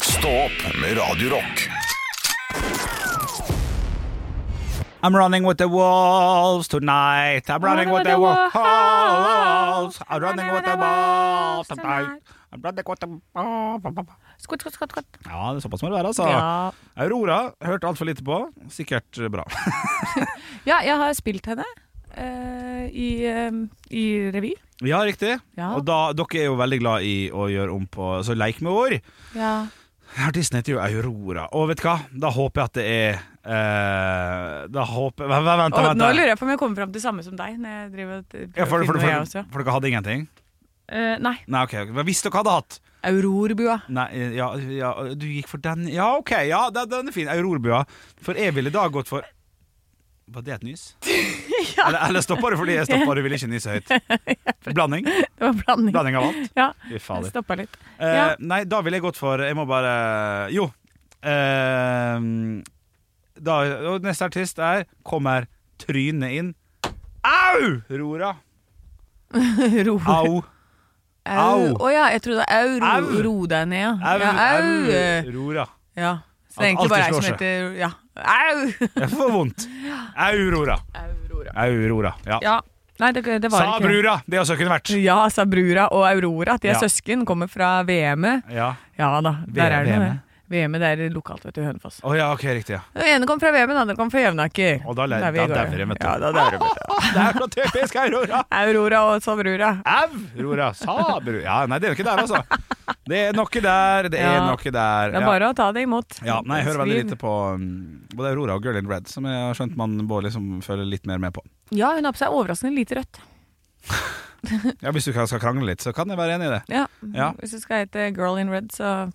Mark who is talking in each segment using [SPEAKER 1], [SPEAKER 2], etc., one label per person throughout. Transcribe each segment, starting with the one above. [SPEAKER 1] Stå opp med Radio Rock.
[SPEAKER 2] I'm running with the wolves tonight. I'm running with the wolves. I'm running with the wolves tonight. I'm running with the
[SPEAKER 3] Skutt, skutt, skutt, skutt.
[SPEAKER 2] Ja, det er såpass må det være, altså.
[SPEAKER 3] Ja.
[SPEAKER 2] Aurora hørte altfor lite på. Sikkert bra.
[SPEAKER 3] ja, jeg har spilt henne eh, i, eh, i revy.
[SPEAKER 2] Ja, riktig.
[SPEAKER 3] Ja.
[SPEAKER 2] Og da, dere er jo veldig glad i å gjøre om på Så leik med ord.
[SPEAKER 3] Ja.
[SPEAKER 2] Artisten heter jo Aurora. Og vet du hva? Da håper jeg at det er eh, Da håper Vent, vent, vent.
[SPEAKER 3] Og
[SPEAKER 2] vent.
[SPEAKER 3] nå lurer jeg på om jeg kommer fram til samme som deg. Når jeg driver og prøver
[SPEAKER 2] ja, for,
[SPEAKER 3] å
[SPEAKER 2] for,
[SPEAKER 3] finne
[SPEAKER 2] for,
[SPEAKER 3] jeg
[SPEAKER 2] for,
[SPEAKER 3] også.
[SPEAKER 2] dere hadde ingenting?
[SPEAKER 3] Eh, nei.
[SPEAKER 2] Nei, ok. ok. Men Hvis dere hadde hatt
[SPEAKER 3] Aurorbua.
[SPEAKER 2] Nei, ja, ja, du gikk for den Ja, ok, ja, den, den er fin. Aurorbua. For jeg ville da gått for Var det et nys? eller, eller stoppa du fordi jeg stoppa, du ville ikke nyse høyt? Blanding?
[SPEAKER 3] Det var blanding.
[SPEAKER 2] Blanding av alt?
[SPEAKER 3] Ja.
[SPEAKER 2] Fy fader.
[SPEAKER 3] Stoppa litt.
[SPEAKER 2] Eh,
[SPEAKER 3] Ja.
[SPEAKER 2] Nei, da ville jeg gått for Jeg må bare Jo. Eh, da, og neste artist er Kommer trynet inn. Au! Rora.
[SPEAKER 3] Ro.
[SPEAKER 2] Au. au.
[SPEAKER 3] Å ja, jeg trodde au, ro,
[SPEAKER 2] Au.
[SPEAKER 3] ro deg ned, ja.
[SPEAKER 2] Au.
[SPEAKER 3] ja, au. eh,
[SPEAKER 2] au Rora.
[SPEAKER 3] Ja. Så det
[SPEAKER 2] At
[SPEAKER 3] er egentlig
[SPEAKER 2] alt
[SPEAKER 3] bare jeg som
[SPEAKER 2] slår seg.
[SPEAKER 3] heter Ja. Au!
[SPEAKER 2] Jeg får vondt. Aurora.
[SPEAKER 3] Aurora.
[SPEAKER 2] Aurora. Ja.
[SPEAKER 3] Ja. Nei, det, det var
[SPEAKER 2] Sa
[SPEAKER 3] ikke det.
[SPEAKER 2] brura. Det også kunne vært.
[SPEAKER 3] Ja, sa Brura og Aurora. At de
[SPEAKER 2] Ja.
[SPEAKER 3] er søsken, kommer fra VM-et.
[SPEAKER 2] Ja.
[SPEAKER 3] Ja da, der er det noe.
[SPEAKER 2] VM-et.
[SPEAKER 3] VM-et det er lokalt, vet du, Hønefoss.
[SPEAKER 2] Å E. ja, ok, riktig. ja
[SPEAKER 3] Den ene kom fra VM, den andre kom fra Jevnaker.
[SPEAKER 2] Og da le-
[SPEAKER 3] Der vi
[SPEAKER 2] da
[SPEAKER 3] går.
[SPEAKER 2] dauer de, vet du.
[SPEAKER 3] Ja, da dauer de, vet du.
[SPEAKER 2] Det er så typisk Aurora!
[SPEAKER 3] Aurora og Savrura.
[SPEAKER 2] Aurora. Sa brura. Ja, nei, det er jo ikke der, altså. Det er noe der, det er
[SPEAKER 3] Ja.
[SPEAKER 2] noe der.
[SPEAKER 3] Det er
[SPEAKER 2] Ja.
[SPEAKER 3] bare å ta det imot.
[SPEAKER 2] Ja, nei, jeg hører veldig
[SPEAKER 3] Skriv.
[SPEAKER 2] lite på um, både Aurora og Girl in Red, som jeg har skjønt man må liksom følge litt mer med på.
[SPEAKER 3] Ja, hun har på seg overraskende lite rødt.
[SPEAKER 2] Ja, Hvis du kan- skal krangle litt, så kan jeg være enig i det.
[SPEAKER 3] Ja.
[SPEAKER 2] Ja.
[SPEAKER 3] Hvis du skal hete Girl in Red, så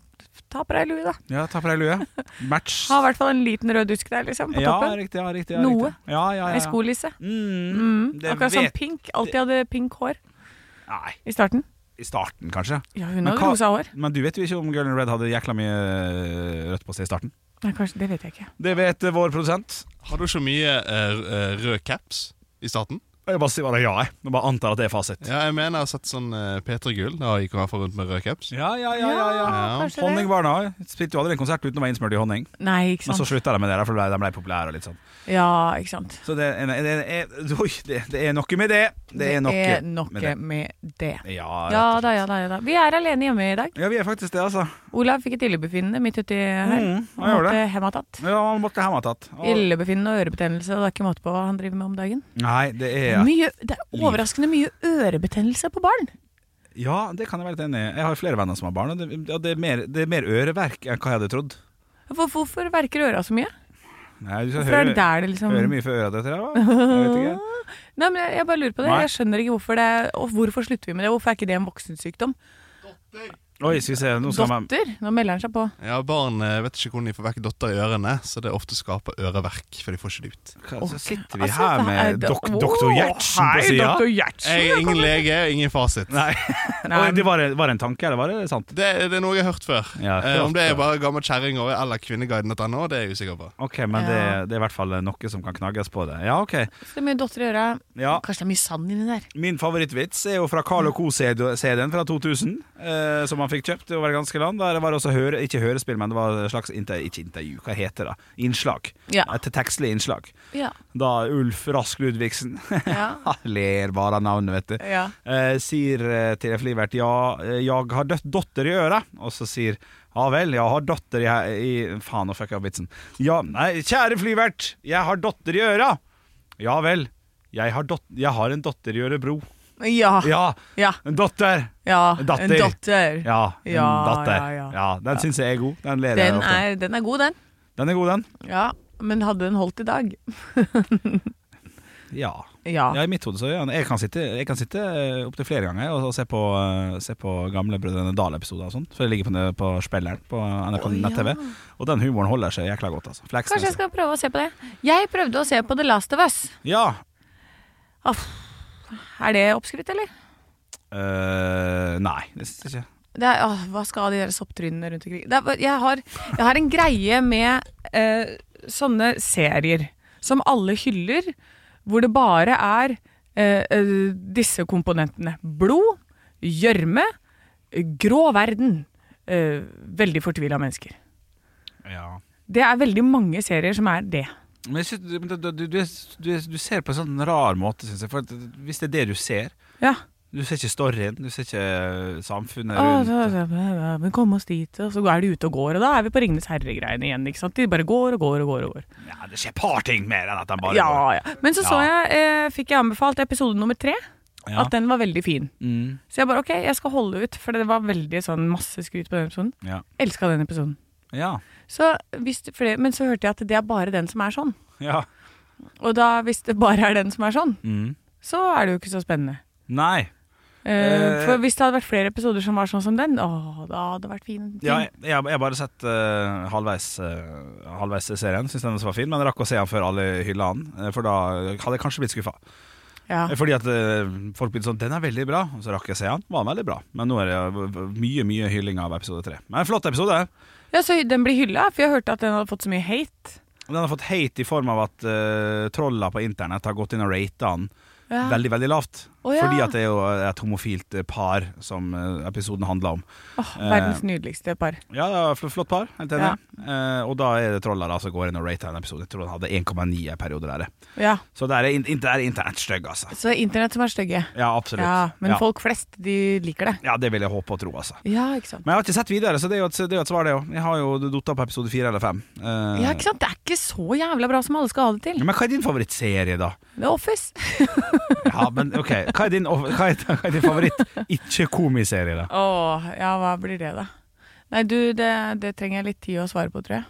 [SPEAKER 3] ta på deg lue, da.
[SPEAKER 2] Ja, Ta på deg lue. Match.
[SPEAKER 3] Ha i hvert fall en liten rød dusk der, liksom, på
[SPEAKER 2] ja,
[SPEAKER 3] toppen.
[SPEAKER 2] riktig, ja, riktig, ja,
[SPEAKER 3] Noe.
[SPEAKER 2] Riktig. Ja, ja, ja, ja.
[SPEAKER 3] Ei skolisse.
[SPEAKER 2] Mm,
[SPEAKER 3] Mm,
[SPEAKER 2] det
[SPEAKER 3] akkurat som
[SPEAKER 2] vet-
[SPEAKER 3] pink. Alltid hadde pink hår
[SPEAKER 2] Nei,
[SPEAKER 3] i starten.
[SPEAKER 2] i starten kanskje.
[SPEAKER 3] Ja, hun
[SPEAKER 2] Men
[SPEAKER 3] hadde
[SPEAKER 2] hva-
[SPEAKER 3] rosa hår.
[SPEAKER 2] Men du vet jo ikke om Girl in Red hadde jækla mye øh, rødt på seg i starten.
[SPEAKER 3] Nei, kanskje, Det vet jeg ikke.
[SPEAKER 2] Det vet øh, vår produsent.
[SPEAKER 4] Har du så mye eh, r- eh, rød caps i starten?
[SPEAKER 2] Jeg bare sier bare ja, jeg. jeg. Bare antar at det er fasit.
[SPEAKER 4] Ja, jeg mener jeg har sett sånn eh, Peter Gull. Da gikk hun iallfall rundt med rød caps.
[SPEAKER 2] Ja, ja, ja. ja, ja.
[SPEAKER 4] Ja.
[SPEAKER 3] kanskje det.
[SPEAKER 2] Honningbarna jeg spilte jo aldri en konsert uten å være innsmurt i honning.
[SPEAKER 3] Nei, ikke
[SPEAKER 2] Men så
[SPEAKER 3] sant.
[SPEAKER 2] slutta de med det, der, for de ble- de ble populære. og litt sånn
[SPEAKER 3] Ja, ikke sant.
[SPEAKER 2] Så det er, det, er, oi, det, det er noe med det. Det er noe,
[SPEAKER 3] er noe
[SPEAKER 2] med det.
[SPEAKER 3] med det.
[SPEAKER 2] Ja,
[SPEAKER 3] Ja
[SPEAKER 2] rett og slett.
[SPEAKER 3] da, ja da, ja da. Vi er alene hjemme i dag.
[SPEAKER 2] ja, vi er faktisk det, altså.
[SPEAKER 3] Olav fikk et illebefinnende midt uti her.
[SPEAKER 2] Mm, hva
[SPEAKER 3] han
[SPEAKER 2] gjør
[SPEAKER 3] måtte
[SPEAKER 2] det?
[SPEAKER 3] hjem og tatt.
[SPEAKER 2] Ja, man måtte hjem og tatt. Og-
[SPEAKER 3] Illebefinnende og ørebetennelse, og det er ikke måte på hva han driver med om dagen.
[SPEAKER 2] Nei, det er
[SPEAKER 3] Mye, det er overraskende mye ørebetennelse på barn.
[SPEAKER 2] Ja, det kan jeg være litt enig i. Jeg har flere venner som har barn, og det, ja, det, er, mer, det er mer øreverk enn hva jeg hadde trodd.
[SPEAKER 3] Hvor, hvorfor verker øra så mye?
[SPEAKER 2] Nei, du skal
[SPEAKER 3] Hvorfor er
[SPEAKER 2] høre,
[SPEAKER 3] det der det liksom
[SPEAKER 2] høre mye for øra dette, da. Jeg vet ikke.
[SPEAKER 3] Nei, men jeg, jeg bare lurer på det.
[SPEAKER 2] Nei.
[SPEAKER 3] Jeg skjønner ikke hvorfor det Og hvorfor slutter vi med det? Hvorfor er ikke det en voksensykdom?
[SPEAKER 2] Oi, skal vi se, nå skal man
[SPEAKER 3] Dotter? Nå melder han seg på.
[SPEAKER 4] Ja, Barn eh, vet ikke hvordan de får vekk dotter i ørene, så det ofte skaper øreverk. For de får ikke det ut.
[SPEAKER 2] Hva- Så sitter vi
[SPEAKER 3] Altså,
[SPEAKER 2] her
[SPEAKER 3] hva er
[SPEAKER 2] med
[SPEAKER 3] det-
[SPEAKER 2] dok
[SPEAKER 3] Åh,
[SPEAKER 2] doktor Gjertsen på
[SPEAKER 3] hei,
[SPEAKER 2] sida.
[SPEAKER 3] doktor Gjertsen.
[SPEAKER 4] Jeg er ingen lege, ingen fasit.
[SPEAKER 2] Nei, Oi,
[SPEAKER 3] um,
[SPEAKER 2] det var, var det en tanke, eller var det sant?
[SPEAKER 4] Det, det er noe jeg har hørt før.
[SPEAKER 2] Ja,
[SPEAKER 4] eh, om
[SPEAKER 2] klart
[SPEAKER 4] det
[SPEAKER 2] det.
[SPEAKER 4] er bare gammel kjerring og- eller kvinneguiden.no, det er jeg usikker på.
[SPEAKER 2] Ok, men det,
[SPEAKER 3] Ja.
[SPEAKER 2] det er i hvert fall noe som kan knagges på det. Ja, ok.
[SPEAKER 3] Så det er mye dotter i øra.
[SPEAKER 2] Ja,
[SPEAKER 3] Kanskje det er mye sand inni der.
[SPEAKER 2] Min favorittvits er jo fra Carl Co.-CD-en fra 2000, eh, som han fikk kjøpt over det ganske land. Der var det også høre, ikke hørespill, men det var et slags inter, ikke intervju, hva heter det? Innslag.
[SPEAKER 3] Ja.
[SPEAKER 2] Et tekstlig innslag.
[SPEAKER 3] Ja.
[SPEAKER 2] Da Ulf Rask Ludvigsen
[SPEAKER 3] ja.
[SPEAKER 2] Ler bare av navnet, vet du.
[SPEAKER 3] ja.
[SPEAKER 2] Eh, sier eh, til en flivert ja, eh, jeg har dødt dotter i øret. Og så sier ja vel, jeg har dotter i, i Faen, nå fucka jeg opp vitsen. Ja, nei, kjære flyvert, jeg har dotter i øra. Ja vel, jeg har, dot jeg har en dotter i Ørebro.
[SPEAKER 3] Ja.
[SPEAKER 2] Ja,
[SPEAKER 3] Ja.
[SPEAKER 2] en dotter.
[SPEAKER 3] ja.
[SPEAKER 2] En datter.
[SPEAKER 3] En datter.
[SPEAKER 2] Ja, en
[SPEAKER 3] Ja,
[SPEAKER 2] datter.
[SPEAKER 3] ja,
[SPEAKER 2] Ja,
[SPEAKER 3] ja.
[SPEAKER 2] den syns jeg er god. Den ler jeg
[SPEAKER 3] Den,
[SPEAKER 2] ofte.
[SPEAKER 3] er, den er god, den.
[SPEAKER 2] Den er god, den.
[SPEAKER 3] Ja. Men hadde den holdt i dag?
[SPEAKER 2] Ja.
[SPEAKER 3] Ja.
[SPEAKER 2] ja, i mitt hode så ja. Jeg kan sitte, jeg kan sitte eh, opptil flere ganger og, og se, på, eh, se på gamle Brødrene Dal-episoder og sånn. For det ligger på, på spilleren på NRK
[SPEAKER 3] Å, ja.
[SPEAKER 2] nett-TV. Og den humoren holder seg jækla godt, altså.
[SPEAKER 3] Kanskje jeg
[SPEAKER 2] Fleksnes.
[SPEAKER 3] skal prøve å se på det. Jeg prøvde å se på The Last of Us.
[SPEAKER 2] Ja.
[SPEAKER 3] Er det oppskrytt, eller?
[SPEAKER 2] Eh, nei, det syns jeg ikke.
[SPEAKER 3] Det er, åh, hva skal de der sopptrynene rundt omkring det er, bare- jeg, har, jeg har en greie med eh, sånne serier som alle hyller, hvor det bare er eh, eh, disse komponentene. Blod, gjørme, grå verden. Eh, veldig fortvila mennesker.
[SPEAKER 2] Ja.
[SPEAKER 3] Det er veldig mange serier som er det.
[SPEAKER 2] Men jeg synes, men du, du, du, du, du ser på en sånn rar måte, syns jeg. For at hvis det er det du ser
[SPEAKER 3] Ja.
[SPEAKER 2] Du ser ikke storyen, du ser ikke eh, samfunnet
[SPEAKER 3] Å,
[SPEAKER 2] rundt.
[SPEAKER 3] så- så- ja, Men kom oss dit, og så er de ute og går, og da er vi på Ringenes herre-greiene igjen. ikke sant? De bare går og går og går. og går.
[SPEAKER 2] Ja, det skjer et par ting mer enn at han bare går.
[SPEAKER 3] Ja, ja. Men så så
[SPEAKER 2] Ja.
[SPEAKER 3] jeg, eh, fikk jeg anbefalt episode nummer tre,
[SPEAKER 2] Ja.
[SPEAKER 3] at den var veldig fin.
[SPEAKER 2] Mm,
[SPEAKER 3] Så jeg bare ok, jeg skal holde ut, for det var veldig sånn masse skryt på den episoden.
[SPEAKER 2] ja.
[SPEAKER 3] Elska den episoden.
[SPEAKER 2] Ja.
[SPEAKER 3] Så hvis det, for det, men så hørte jeg at det er bare den som er sånn.
[SPEAKER 2] ja.
[SPEAKER 3] Og da, hvis det bare er den som er sånn,
[SPEAKER 2] Mm.
[SPEAKER 3] så er det jo ikke så spennende.
[SPEAKER 2] Nei.
[SPEAKER 3] Eh,
[SPEAKER 2] Eh.
[SPEAKER 3] for hvis det hadde vært flere episoder som var sånn som den, åh, da hadde det vært fin. fin.
[SPEAKER 2] Ja, jeg, jeg har bare sett eh, halvveis, eh, halvveis serien. Syns den også var fin, men jeg rakk å se den før alle hylla den. eh, For da hadde jeg kanskje blitt skuffa.
[SPEAKER 3] Ja.
[SPEAKER 2] Fordi at eh, folk begynte sånn 'Den er veldig bra', og så rakk jeg å se den. Var veldig bra. Men nå er det jo mye, mye hylling av episode tre. Men en flott episode.
[SPEAKER 3] ja, så den blir hylla, for jeg hørte at den hadde fått så mye hate.
[SPEAKER 2] Den har fått hate i form av at uh, trolla på internett har gått inn og rata den
[SPEAKER 3] Ja.
[SPEAKER 2] veldig veldig lavt.
[SPEAKER 3] Å, ja.
[SPEAKER 2] Fordi at det er jo et homofilt eh, par som eh, episoden handler om.
[SPEAKER 3] Åh,
[SPEAKER 2] eh,
[SPEAKER 3] verdens nydeligste par.
[SPEAKER 2] Ja, det var fl- flott par, helt enig. Eh, og da er det trolla da, som går inn og rater en episode. Jeg tror den hadde 1,9 i perioder der.
[SPEAKER 3] Ja.
[SPEAKER 2] Så der er, in der er internett stygg, altså.
[SPEAKER 3] Så det er internett som er stygge.
[SPEAKER 2] Ja, absolutt.
[SPEAKER 3] Ja, men
[SPEAKER 2] ja.
[SPEAKER 3] folk flest, de liker det.
[SPEAKER 2] ja, det vil jeg håpe og tro, altså.
[SPEAKER 3] Ja, ikke sant.
[SPEAKER 2] Men jeg har ikke sett videre, så det er jo et, det er jo et svar, det òg. Jeg har jo datt på episode fire eller fem. Eh,
[SPEAKER 3] Ja, ikke sant? Det er ikke så jævla bra som alle skal ha det til.
[SPEAKER 2] men hva er din favorittserie, da?
[SPEAKER 3] The Office.
[SPEAKER 2] Ja, men ok Hva er din, hva er, hva er din favoritt ikke-komiserie, da?
[SPEAKER 3] Åh, ja, hva blir det da? Nei, du, det, det trenger jeg litt tid å svare på, tror jeg.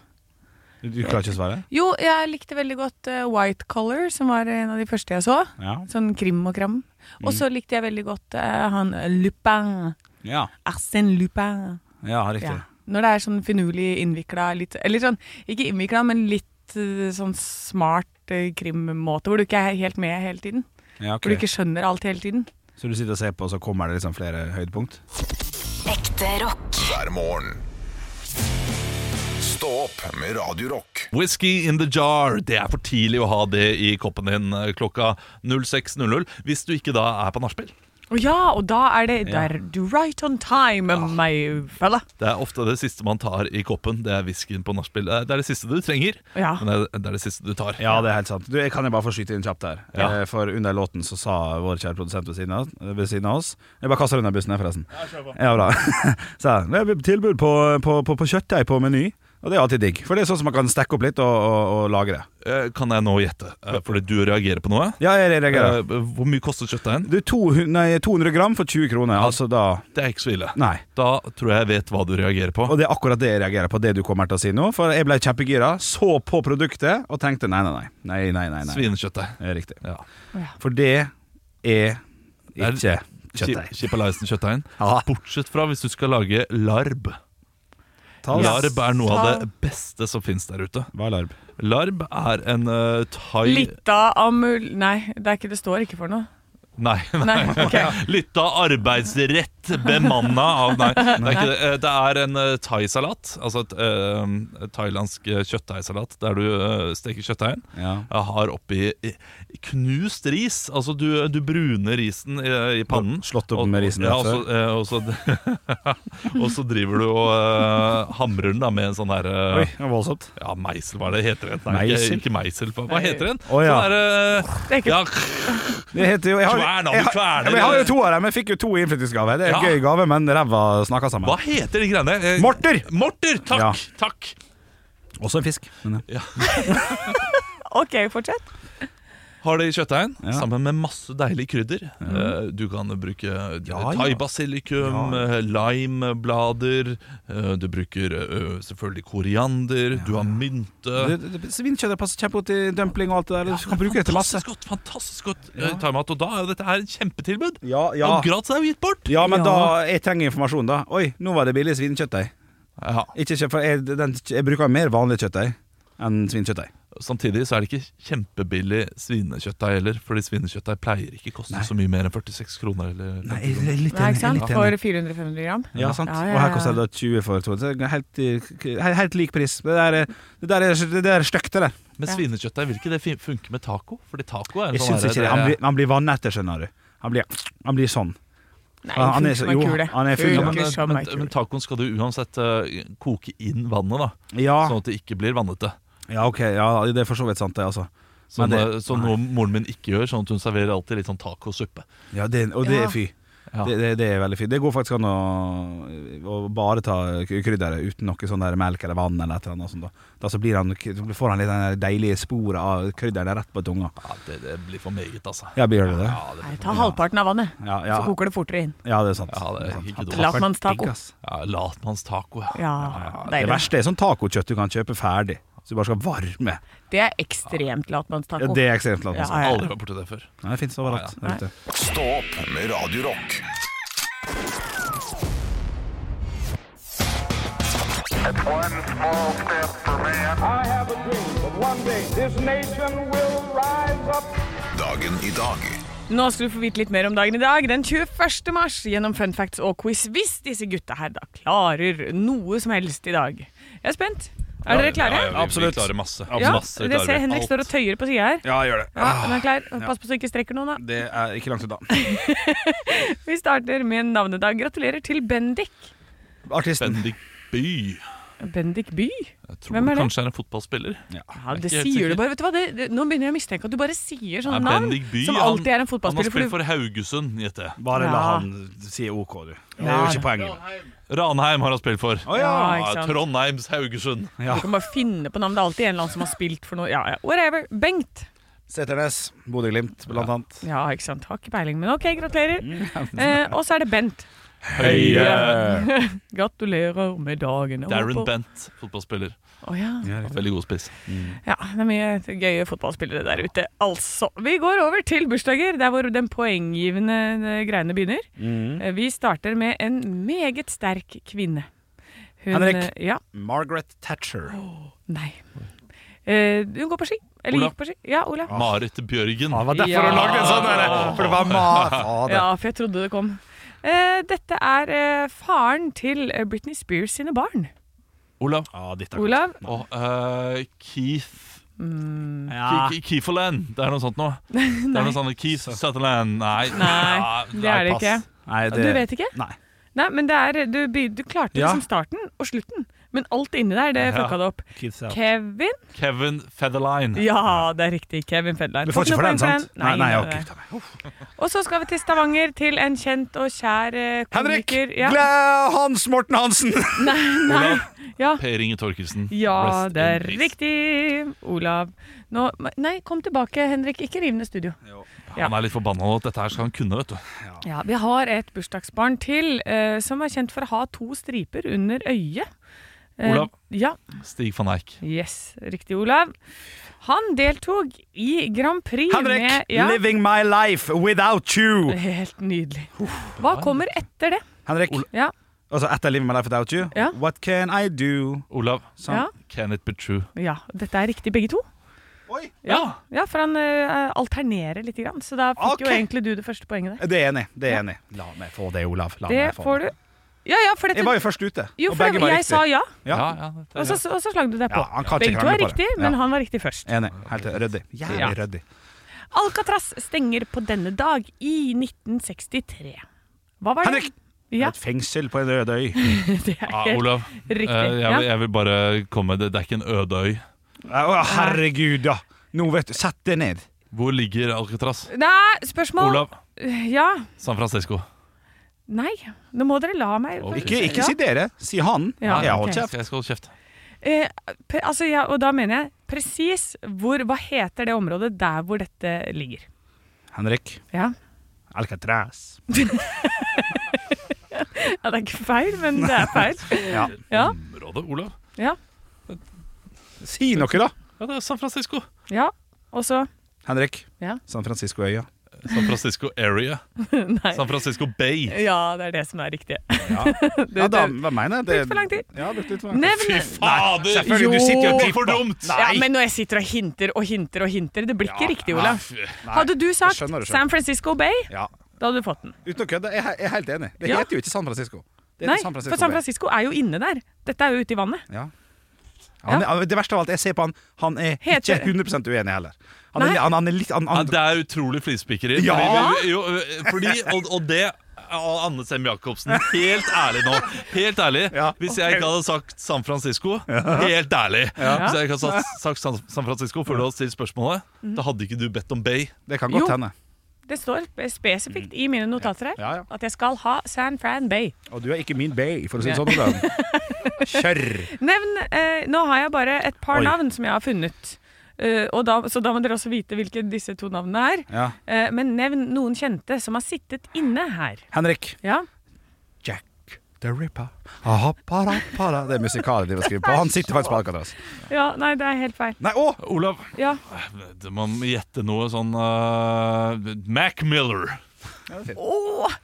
[SPEAKER 2] Du, du klarer ikke å svare?
[SPEAKER 3] Jo, jeg likte veldig godt eh, White Collar, som var en av de første jeg så.
[SPEAKER 2] Ja.
[SPEAKER 3] Sånn krim og kram.
[SPEAKER 2] Mm.
[SPEAKER 3] Og så likte jeg veldig godt eh, han Lupin.
[SPEAKER 2] Ja,
[SPEAKER 3] Arsène Lupin.
[SPEAKER 2] ja riktig.
[SPEAKER 3] Ja. Når det er sånn finurlig innvikla, litt Eller sånn, ikke innvikla, men litt eh, sånn smart eh, krimmåte, hvor du ikke er helt med hele tiden.
[SPEAKER 2] Ja, ok.
[SPEAKER 3] Hvor du ikke skjønner alt hele tiden.
[SPEAKER 2] Så du sitter og ser på, og så kommer det liksom flere høydepunkt?
[SPEAKER 5] Ekte rock.
[SPEAKER 1] hver morgen. Stå opp med Radio Rock.
[SPEAKER 6] Whisky in the jar. Det er for tidlig å ha det i koppen din eh, klokka 06.00 hvis du ikke da er på nachspiel.
[SPEAKER 3] Å ja, og da er det der Du right on time, my fella.
[SPEAKER 6] Det er ofte det siste man tar i koppen. Det er whiskyen på nachspiel. Eh, Det er det siste du trenger,
[SPEAKER 3] Ja.
[SPEAKER 6] men det er- det er det siste du tar.
[SPEAKER 2] Ja, det er helt sant. Du, jeg kan jeg bare få skyte inn kjapt her?
[SPEAKER 6] Ja.
[SPEAKER 2] Eh, For under låten så sa vår kjære produsent ved siden av, ved siden av oss Jeg bare kaster under bussen her, forresten. Ja, bra. så her, det er tilbud på, på, på, på kjøttdeig på Meny. Og det er alltid digg. For det er sånn som man kan stekke opp litt og, og, og lagre.
[SPEAKER 6] Eh, Kan jeg nå gjette? Eh, Fordi du reagerer på noe.
[SPEAKER 2] Ja, jeg
[SPEAKER 6] Eh,
[SPEAKER 2] reagerer.
[SPEAKER 6] Hvor mye koster kjøttdeigen?
[SPEAKER 2] Du, 200, nei, 200 gram for 20 kroner. Altså da
[SPEAKER 6] Det er ikke så ille.
[SPEAKER 2] Nei.
[SPEAKER 6] Da tror jeg jeg vet hva du reagerer på.
[SPEAKER 2] Og det er akkurat det jeg reagerer på, det du kommer til å si nå. For jeg ble kjempegira, så på produktet og tenkte nei, nei, nei. Nei, nei, nei, nei.
[SPEAKER 6] Svinekjøttdeig.
[SPEAKER 2] Det er Riktig.
[SPEAKER 6] Ja.
[SPEAKER 2] For det er
[SPEAKER 6] er-
[SPEAKER 2] ikke kjøttdeig.
[SPEAKER 6] Chipalaisen-kjøttdeigen.
[SPEAKER 2] Ja.
[SPEAKER 6] Bortsett fra hvis du skal lage larb.
[SPEAKER 2] Ta oss.
[SPEAKER 6] Larb er noe av det beste som fins der ute.
[SPEAKER 2] Hva er larb?
[SPEAKER 6] Larb er en eh, thai
[SPEAKER 3] Lita amul... Nei, det, er ikke, det står ikke for noe.
[SPEAKER 6] Nei.
[SPEAKER 3] Nei, ok.
[SPEAKER 6] Litt av arbeidsrett bemanna av Nei, det er ikke det. Eh, Det er en eh, thaisalat. Altså et eh, thailandsk eh, kjøttdeigsalat der du eh, steker kjøttdeigen.
[SPEAKER 2] Ja.
[SPEAKER 6] Jeg Har oppi eh, knust ris. Altså du, du bruner risen i, eh, i pannen.
[SPEAKER 2] Slått opp
[SPEAKER 6] Og-
[SPEAKER 2] med risen
[SPEAKER 6] ja,
[SPEAKER 2] rett
[SPEAKER 6] og så, eh, og, så, og så driver du og eh, hamrer den da med en sånn her eh,
[SPEAKER 2] Oi, det var voldsomt.
[SPEAKER 6] Ja, meisel, hva er det heter den? Nei,
[SPEAKER 2] Meisel?
[SPEAKER 6] Ikke, ikke meisel, hva, hva heter den?
[SPEAKER 2] Å, ja.
[SPEAKER 6] Sånn der, eh,
[SPEAKER 3] Det er ikke
[SPEAKER 6] ja,
[SPEAKER 2] Det heter jo jeg har,
[SPEAKER 6] Kvern, da, du
[SPEAKER 2] jeg har-
[SPEAKER 6] kverner.
[SPEAKER 2] Ja, men jeg har jo to av dem. Jeg fikk jo to i innflyttingsgave. Det er
[SPEAKER 6] Ja.
[SPEAKER 2] en gøy gave, men ræva snakker sammen.
[SPEAKER 6] hva heter de greiene? Eh,
[SPEAKER 2] Morter!
[SPEAKER 6] Morter, takk,
[SPEAKER 2] Ja.
[SPEAKER 6] takk
[SPEAKER 2] Også en fisk. Men, ja.
[SPEAKER 3] OK, fortsett.
[SPEAKER 6] Har det i kjøttdeigen,
[SPEAKER 2] Ja.
[SPEAKER 6] sammen med masse deilig krydder. Eh, Du kan bruke eh,
[SPEAKER 2] Ja, ja.
[SPEAKER 6] thaibasilikum,
[SPEAKER 2] Ja.
[SPEAKER 6] eh, limeblader, eh, du bruker eh, selvfølgelig koriander, du har mynte.
[SPEAKER 2] Det- det- Svinkjøttet passer kjempegodt til dumpling og alt det der. Du kan bruke det til masse.
[SPEAKER 6] Fantastisk godt, fantastisk godt eh, thaimat. Og da er jo dette her et kjempetilbud.
[SPEAKER 2] Ja,
[SPEAKER 6] Og
[SPEAKER 2] ja.
[SPEAKER 6] gratis er jo gitt bort.
[SPEAKER 2] ja men
[SPEAKER 3] Ja.
[SPEAKER 2] da Jeg trenger informasjon, da. Oi, nå var det billig svinekjøttdeig.
[SPEAKER 6] Ja.
[SPEAKER 2] Ikke kjøp, for jeg, den, jeg bruker mer vanlig kjøttdeig enn svinekjøttdeig.
[SPEAKER 6] Samtidig så er det ikke kjempebillig svinekjøttdeig heller, fordi svinekjøttdeig pleier ikke koste
[SPEAKER 2] Nei.
[SPEAKER 6] så mye mer enn 46 kroner. Eller 50 kroner.
[SPEAKER 2] litt
[SPEAKER 3] Nei, ikke sant? For 400-500 gram.
[SPEAKER 2] Ja, sant.
[SPEAKER 3] Ja, ja, ja.
[SPEAKER 2] Og her koster det da 20 for to. Det er Helt, i- he- helt lik pris. Det der, er- det der, er- det der er stygt, det der.
[SPEAKER 6] Men
[SPEAKER 3] Ja.
[SPEAKER 6] svinekjøttdeig vil ikke det fin- funke med taco? Fordi taco er en
[SPEAKER 2] Jeg
[SPEAKER 6] sånn
[SPEAKER 2] syns ikke det. Han blir, han blir vann etter, skjønner du. Han blir, han blir sånn.
[SPEAKER 3] Nei,
[SPEAKER 2] Han- han er
[SPEAKER 3] funker
[SPEAKER 2] så-
[SPEAKER 3] som en
[SPEAKER 2] jo,
[SPEAKER 3] kule.
[SPEAKER 2] han er full,
[SPEAKER 6] ja,
[SPEAKER 3] Funker
[SPEAKER 6] men,
[SPEAKER 3] som en
[SPEAKER 6] men,
[SPEAKER 3] kule.
[SPEAKER 6] men tacoen skal du uansett eh, koke inn vannet, da
[SPEAKER 2] Ja,
[SPEAKER 6] sånn at det ikke blir vannete.
[SPEAKER 2] ja ok. Ja, det er for så vidt sant, det, altså.
[SPEAKER 6] Sånn,
[SPEAKER 2] Men
[SPEAKER 6] eh, så noe moren min ikke gjør, sånn at hun serverer alltid litt sånn tacosuppe.
[SPEAKER 2] Ja, det, og det
[SPEAKER 3] Ja.
[SPEAKER 2] er fy.
[SPEAKER 6] Ja.
[SPEAKER 2] Det, det, det er veldig fint. Det går faktisk an å, å bare ta k- krydderet uten noe sånn der melk eller vann eller et eller annet sånt. Da, da så blir han, får han litt den der deilige sporet av krydderet rett på tunga.
[SPEAKER 6] Ja, det, det blir for meget, altså.
[SPEAKER 2] Ja, blir det det?
[SPEAKER 6] Ja, det,
[SPEAKER 3] Nei, ta halvparten av vannet,
[SPEAKER 2] Ja,
[SPEAKER 3] så
[SPEAKER 2] ja,
[SPEAKER 3] koker det fortere inn.
[SPEAKER 2] ja det er sant.
[SPEAKER 6] Ja, det er ikke
[SPEAKER 2] sant.
[SPEAKER 6] dumt.
[SPEAKER 3] Latmannstaco.
[SPEAKER 2] Digg, ass.
[SPEAKER 6] ja, Latmannstaco, ja.
[SPEAKER 3] Ja,
[SPEAKER 2] Det
[SPEAKER 3] deilig.
[SPEAKER 2] verste er sånn tacokjøtt du kan kjøpe ferdig. Så du bare skal varme.
[SPEAKER 3] Det er ekstremt
[SPEAKER 2] Ja,
[SPEAKER 3] latmannstaco.
[SPEAKER 2] det er ekstremt lavt.
[SPEAKER 3] Ja,
[SPEAKER 2] altså.
[SPEAKER 3] ja.
[SPEAKER 6] Aldri vært borti det før.
[SPEAKER 2] Nei, Det fins overalt.
[SPEAKER 3] Nei.
[SPEAKER 2] der ute.
[SPEAKER 1] Stå opp med Radio Rock.
[SPEAKER 7] I have a dream that one day this nation will rise up.
[SPEAKER 1] Dagen i dag.
[SPEAKER 3] Nå skal du få vite litt mer om dagen i dag, den 21. mars, gjennom fun facts og quiz, hvis disse gutta her da klarer noe som helst i dag. Jeg er spent. Er dere klare?
[SPEAKER 6] Ja, ja, vi,
[SPEAKER 2] Absolutt.
[SPEAKER 6] Vi klarer masse.
[SPEAKER 3] Ja,
[SPEAKER 6] masse
[SPEAKER 3] dere
[SPEAKER 6] klarer
[SPEAKER 3] ser
[SPEAKER 6] vi.
[SPEAKER 3] Henrik står og tøyer på sida her.
[SPEAKER 2] Ja, gjør det.
[SPEAKER 3] Ja, han er klar. Pass på så du ikke strekker noen, da.
[SPEAKER 2] Det er ikke langt unna.
[SPEAKER 3] Vi starter med navnedag. Gratulerer til Bendik.
[SPEAKER 2] Artisten.
[SPEAKER 6] Bendik By.
[SPEAKER 3] Bendik By?
[SPEAKER 6] Jeg tror
[SPEAKER 3] Hvem er det?
[SPEAKER 6] kanskje er en fotballspiller.
[SPEAKER 3] Ja, det
[SPEAKER 6] Jeg er ikke
[SPEAKER 3] sier
[SPEAKER 6] helt
[SPEAKER 3] du
[SPEAKER 6] sikker.
[SPEAKER 3] bare. Vet du hva? Det, det, nå begynner jeg å mistenke at du bare sier sånne
[SPEAKER 6] Nei,
[SPEAKER 3] navn.
[SPEAKER 6] Bendik By,
[SPEAKER 3] som
[SPEAKER 6] han-
[SPEAKER 3] alltid er en
[SPEAKER 6] Han har
[SPEAKER 3] fotballspiller.
[SPEAKER 6] spilt
[SPEAKER 3] for
[SPEAKER 6] for Haugesund, gjetter jeg.
[SPEAKER 2] Bare la
[SPEAKER 3] Ja.
[SPEAKER 2] han si OK, du. Det er
[SPEAKER 3] Ja.
[SPEAKER 2] jo ikke poenget.
[SPEAKER 6] Ranheim har han spilt for.
[SPEAKER 2] Å
[SPEAKER 3] du, ja,
[SPEAKER 2] ja.
[SPEAKER 3] ikke sant?
[SPEAKER 6] Trondheims Haugesund.
[SPEAKER 2] Ja.
[SPEAKER 3] Du kan bare finne på navn. Det er alltid en eller annen som har spilt for noe. Ja, ja. Whatever. Bengt.
[SPEAKER 2] Seternes. Bodø-Glimt, blant annet.
[SPEAKER 3] Ja, ikke sant. Har ikke peiling, men OK, gratulerer.
[SPEAKER 6] Mm.
[SPEAKER 3] Eh, og så er det Bent.
[SPEAKER 2] Høie.
[SPEAKER 3] Gratulerer med dagen. Jeg
[SPEAKER 6] Darren
[SPEAKER 3] håper-
[SPEAKER 6] Bent, fotballspiller.
[SPEAKER 3] Å, ja.
[SPEAKER 6] Veldig god spiss.
[SPEAKER 3] Ja, det er mye gøye fotballspillere der ute. Altså, vi går over til bursdager, der hvor den poenggivende eh, greiene begynner.
[SPEAKER 2] Mm.
[SPEAKER 3] Eh, Vi starter med en meget sterk kvinne. Hun,
[SPEAKER 2] Henrik.
[SPEAKER 3] eh, Ja,
[SPEAKER 2] Margaret Thatcher.
[SPEAKER 3] nei. Eh, hun går på ski. Eller
[SPEAKER 6] Ola.
[SPEAKER 3] gikk på ski. Ja, Ola.
[SPEAKER 2] Ah,
[SPEAKER 6] Marit Bjørgen.
[SPEAKER 2] Det var derfor
[SPEAKER 3] Ja.
[SPEAKER 2] hun lagde en sånn der. For det var ma... Fader.
[SPEAKER 3] Ja, for jeg trodde det kom. Eh, dette er eh, faren til eh, Britney Spears sine barn.
[SPEAKER 6] Olav.
[SPEAKER 2] Ja, ditt er godt.
[SPEAKER 3] Olav. mm,
[SPEAKER 6] Og eh, Keith
[SPEAKER 2] Ja.
[SPEAKER 6] Ke- Ke- Keeferland. Det er noe sånt noe. Det er noe sånt Keith Sutherland. Nei, Ah,
[SPEAKER 3] Nei,
[SPEAKER 6] Ja,
[SPEAKER 3] det er det
[SPEAKER 6] pass.
[SPEAKER 3] ikke.
[SPEAKER 2] Nei, det-
[SPEAKER 3] Du vet ikke?
[SPEAKER 2] Nei.
[SPEAKER 3] Nei, men det er, du, by- du klarte
[SPEAKER 2] Ja.
[SPEAKER 3] liksom starten og slutten, men alt inni der, det
[SPEAKER 6] Ja.
[SPEAKER 3] fucka det opp.
[SPEAKER 2] Kids out.
[SPEAKER 3] Kevin?
[SPEAKER 6] Kevin Featherline.
[SPEAKER 3] Ja, det er riktig. Kevin Fedline.
[SPEAKER 2] Du får ikke for den, sant?
[SPEAKER 3] Nei, nei,
[SPEAKER 2] ok,
[SPEAKER 3] nei.
[SPEAKER 2] ta meg.
[SPEAKER 3] Og så skal vi til Stavanger, til en kjent og kjær eh,
[SPEAKER 2] Henrik!
[SPEAKER 3] komiker. Ja.
[SPEAKER 2] Glæ- Hans Morten Hansen!
[SPEAKER 3] Nei. Ja.
[SPEAKER 6] Per Inge Torkelsen.
[SPEAKER 3] ja,
[SPEAKER 6] Rest
[SPEAKER 3] det er
[SPEAKER 6] in peace.
[SPEAKER 3] riktig. Olav. Nå, nei, kom tilbake, Henrik. Ikke riv ned studio. Ja.
[SPEAKER 6] Han er litt forbanna nå. Dette her skal han kunne, vet du.
[SPEAKER 3] Ja, vi har et bursdagsbarn til eh, som er kjent for å ha to striper under øyet. Eh,
[SPEAKER 6] Olav.
[SPEAKER 3] Ja,
[SPEAKER 6] Stig van Eijk.
[SPEAKER 3] yes, Riktig, Olav. Han deltok i Grand Prix
[SPEAKER 2] Henrik!
[SPEAKER 3] med ja,
[SPEAKER 2] Living my life without you!
[SPEAKER 3] Helt nydelig. Hva kommer etter det?
[SPEAKER 2] Henrik,
[SPEAKER 3] Ja,
[SPEAKER 2] altså etter Living my life without you,
[SPEAKER 3] Ja.
[SPEAKER 2] what can I do?
[SPEAKER 6] Olav.
[SPEAKER 2] Sånn.
[SPEAKER 3] ja,
[SPEAKER 6] Can it be true?
[SPEAKER 3] ja. Dette er riktig, begge to.
[SPEAKER 2] Oi.
[SPEAKER 3] Ja, ja for han eh, alternerer litt, grann, så da fikk jo
[SPEAKER 2] Ok.
[SPEAKER 3] egentlig du det første poenget der.
[SPEAKER 2] Det er enig. det er enig La meg få det, Olav. La
[SPEAKER 3] Det
[SPEAKER 2] meg få
[SPEAKER 3] får du. Ja, ja, for dette
[SPEAKER 2] Jeg var jo først ute,
[SPEAKER 3] Jo,
[SPEAKER 2] og
[SPEAKER 3] for
[SPEAKER 2] begge var
[SPEAKER 3] jeg
[SPEAKER 2] riktig.
[SPEAKER 3] sa ja,
[SPEAKER 2] Ja.
[SPEAKER 6] ja, det
[SPEAKER 3] og
[SPEAKER 6] er
[SPEAKER 3] så, og så slang du deg på.
[SPEAKER 2] Ja, han kan ikke
[SPEAKER 3] begge to
[SPEAKER 2] krangle
[SPEAKER 3] er
[SPEAKER 2] på det.
[SPEAKER 3] riktig,
[SPEAKER 2] Ja.
[SPEAKER 3] men han var riktig først.
[SPEAKER 2] Enig. Helt ryddig. Jævlig
[SPEAKER 3] Ja.
[SPEAKER 2] ryddig.
[SPEAKER 3] Alcatraz stenger på denne dag i 1963. Hva var det?
[SPEAKER 2] Henrik!
[SPEAKER 3] Ja,
[SPEAKER 2] Et fengsel på en rød øy.
[SPEAKER 3] det er
[SPEAKER 6] Ja,
[SPEAKER 3] helt
[SPEAKER 6] Olav, eh,
[SPEAKER 3] riktig.
[SPEAKER 6] jeg, vil-
[SPEAKER 3] Ja.
[SPEAKER 6] jeg vil bare komme Det, det er ikke en øde øy.
[SPEAKER 2] Å, herregud, da! Nå vet du, Sett det ned.
[SPEAKER 6] Hvor ligger Alcatraz?
[SPEAKER 3] Nei, spørsmål
[SPEAKER 6] Olav,
[SPEAKER 3] Ja,
[SPEAKER 6] San Francisco.
[SPEAKER 3] nei. Nå må dere la meg
[SPEAKER 6] Ok.
[SPEAKER 2] Ikke, ikke
[SPEAKER 3] Ja.
[SPEAKER 2] si dere, si han.
[SPEAKER 3] Ja,
[SPEAKER 2] jeg
[SPEAKER 3] ok.
[SPEAKER 2] holder kjeft.
[SPEAKER 6] Jeg skal holde kjeft.
[SPEAKER 3] Eh, pe- altså, ja, og da mener jeg presis hvor Hva heter det området der hvor dette ligger?
[SPEAKER 2] Henrik
[SPEAKER 3] Ja,
[SPEAKER 2] Alcatraz.
[SPEAKER 3] ja det er ikke feil, men det er feil.
[SPEAKER 2] Ja.
[SPEAKER 3] Ja,
[SPEAKER 6] Området, Olav?
[SPEAKER 3] ja,
[SPEAKER 2] Si noe, da!
[SPEAKER 6] Ja, det er San Francisco.
[SPEAKER 3] ja. Og så
[SPEAKER 2] Henrik.
[SPEAKER 3] Ja.
[SPEAKER 2] San Francisco-øya.
[SPEAKER 6] San Francisco area.
[SPEAKER 3] Nei.
[SPEAKER 6] San Francisco Bay.
[SPEAKER 3] Ja, det er det som er riktig.
[SPEAKER 2] Ja.
[SPEAKER 3] Det-
[SPEAKER 2] ja, da,
[SPEAKER 3] det-
[SPEAKER 2] hva mener jeg?
[SPEAKER 3] Brukte for lang tid.
[SPEAKER 2] Ja, brukte litt for lang tid.
[SPEAKER 3] Nevn
[SPEAKER 6] Fader!
[SPEAKER 2] selvfølgelig, du sitter jo og
[SPEAKER 6] Det er
[SPEAKER 2] tipper.
[SPEAKER 6] for dumt!
[SPEAKER 3] Ja, men når jeg sitter og hinter og hinter og hinter Det blir ikke riktig,
[SPEAKER 2] Nei,
[SPEAKER 3] Olav.
[SPEAKER 2] f- nei.
[SPEAKER 3] Hadde du sagt
[SPEAKER 2] skjønner du selv.
[SPEAKER 3] San Francisco Bay,
[SPEAKER 2] Ja.
[SPEAKER 3] da hadde du fått den.
[SPEAKER 2] Uten å kødde, jeg er jeg er helt enig. Det
[SPEAKER 3] Ja.
[SPEAKER 2] heter jo ikke San Francisco. Det heter
[SPEAKER 3] Nei, for San Francisco er jo inne der. Dette er jo ute i vannet.
[SPEAKER 2] Ja. Han, er- Det verste av alt, jeg ser på han, han er
[SPEAKER 3] Heter-
[SPEAKER 2] ikke 100 uenig heller. Han er,
[SPEAKER 3] Nei.
[SPEAKER 2] han, han er litt han,
[SPEAKER 6] Ja,
[SPEAKER 2] han,
[SPEAKER 6] det er utrolig flisespikkeri.
[SPEAKER 2] Ja!
[SPEAKER 6] Fordi, jo, eh, fordi, og, og det og Anne Sem Jacobsen, helt ærlig nå. Helt ærlig
[SPEAKER 2] Ja.
[SPEAKER 6] Hvis jeg ikke hadde sagt San Francisco Helt ærlig! Hvis jeg ikke hadde sagt, sagt San San Francisco før du hadde stilt spørsmålet,
[SPEAKER 2] Mm.
[SPEAKER 6] da hadde ikke du bedt om Bay.
[SPEAKER 2] Det kan
[SPEAKER 3] Jo.
[SPEAKER 2] godt hende.
[SPEAKER 3] Det står spesifikt i mine notater her
[SPEAKER 2] Ja, ja.
[SPEAKER 3] at jeg skal ha San Fran Bay.
[SPEAKER 2] Og du er ikke min bay, for å si det sånn. Olav. Kjør!
[SPEAKER 3] Nevn eh, Nå har jeg bare et par
[SPEAKER 2] Oi.
[SPEAKER 3] navn som jeg har funnet. Eh, og da, så da må dere også vite hvilke disse to navnene er.
[SPEAKER 2] Ja.
[SPEAKER 3] Eh, men nevn noen kjente som har sittet inne her.
[SPEAKER 2] Henrik.
[SPEAKER 3] Ja,
[SPEAKER 2] Jack the Ripper. Aha, para, para. Det er musikalen de har skrevet på. Han sitter faktisk på Alcatraz.
[SPEAKER 3] ja Nei, det er helt feil.
[SPEAKER 2] Nei, å!
[SPEAKER 6] Olav,
[SPEAKER 3] Ja,
[SPEAKER 6] du må gjette noe sånn eh, Mac Miller.
[SPEAKER 2] Oi.
[SPEAKER 3] Og-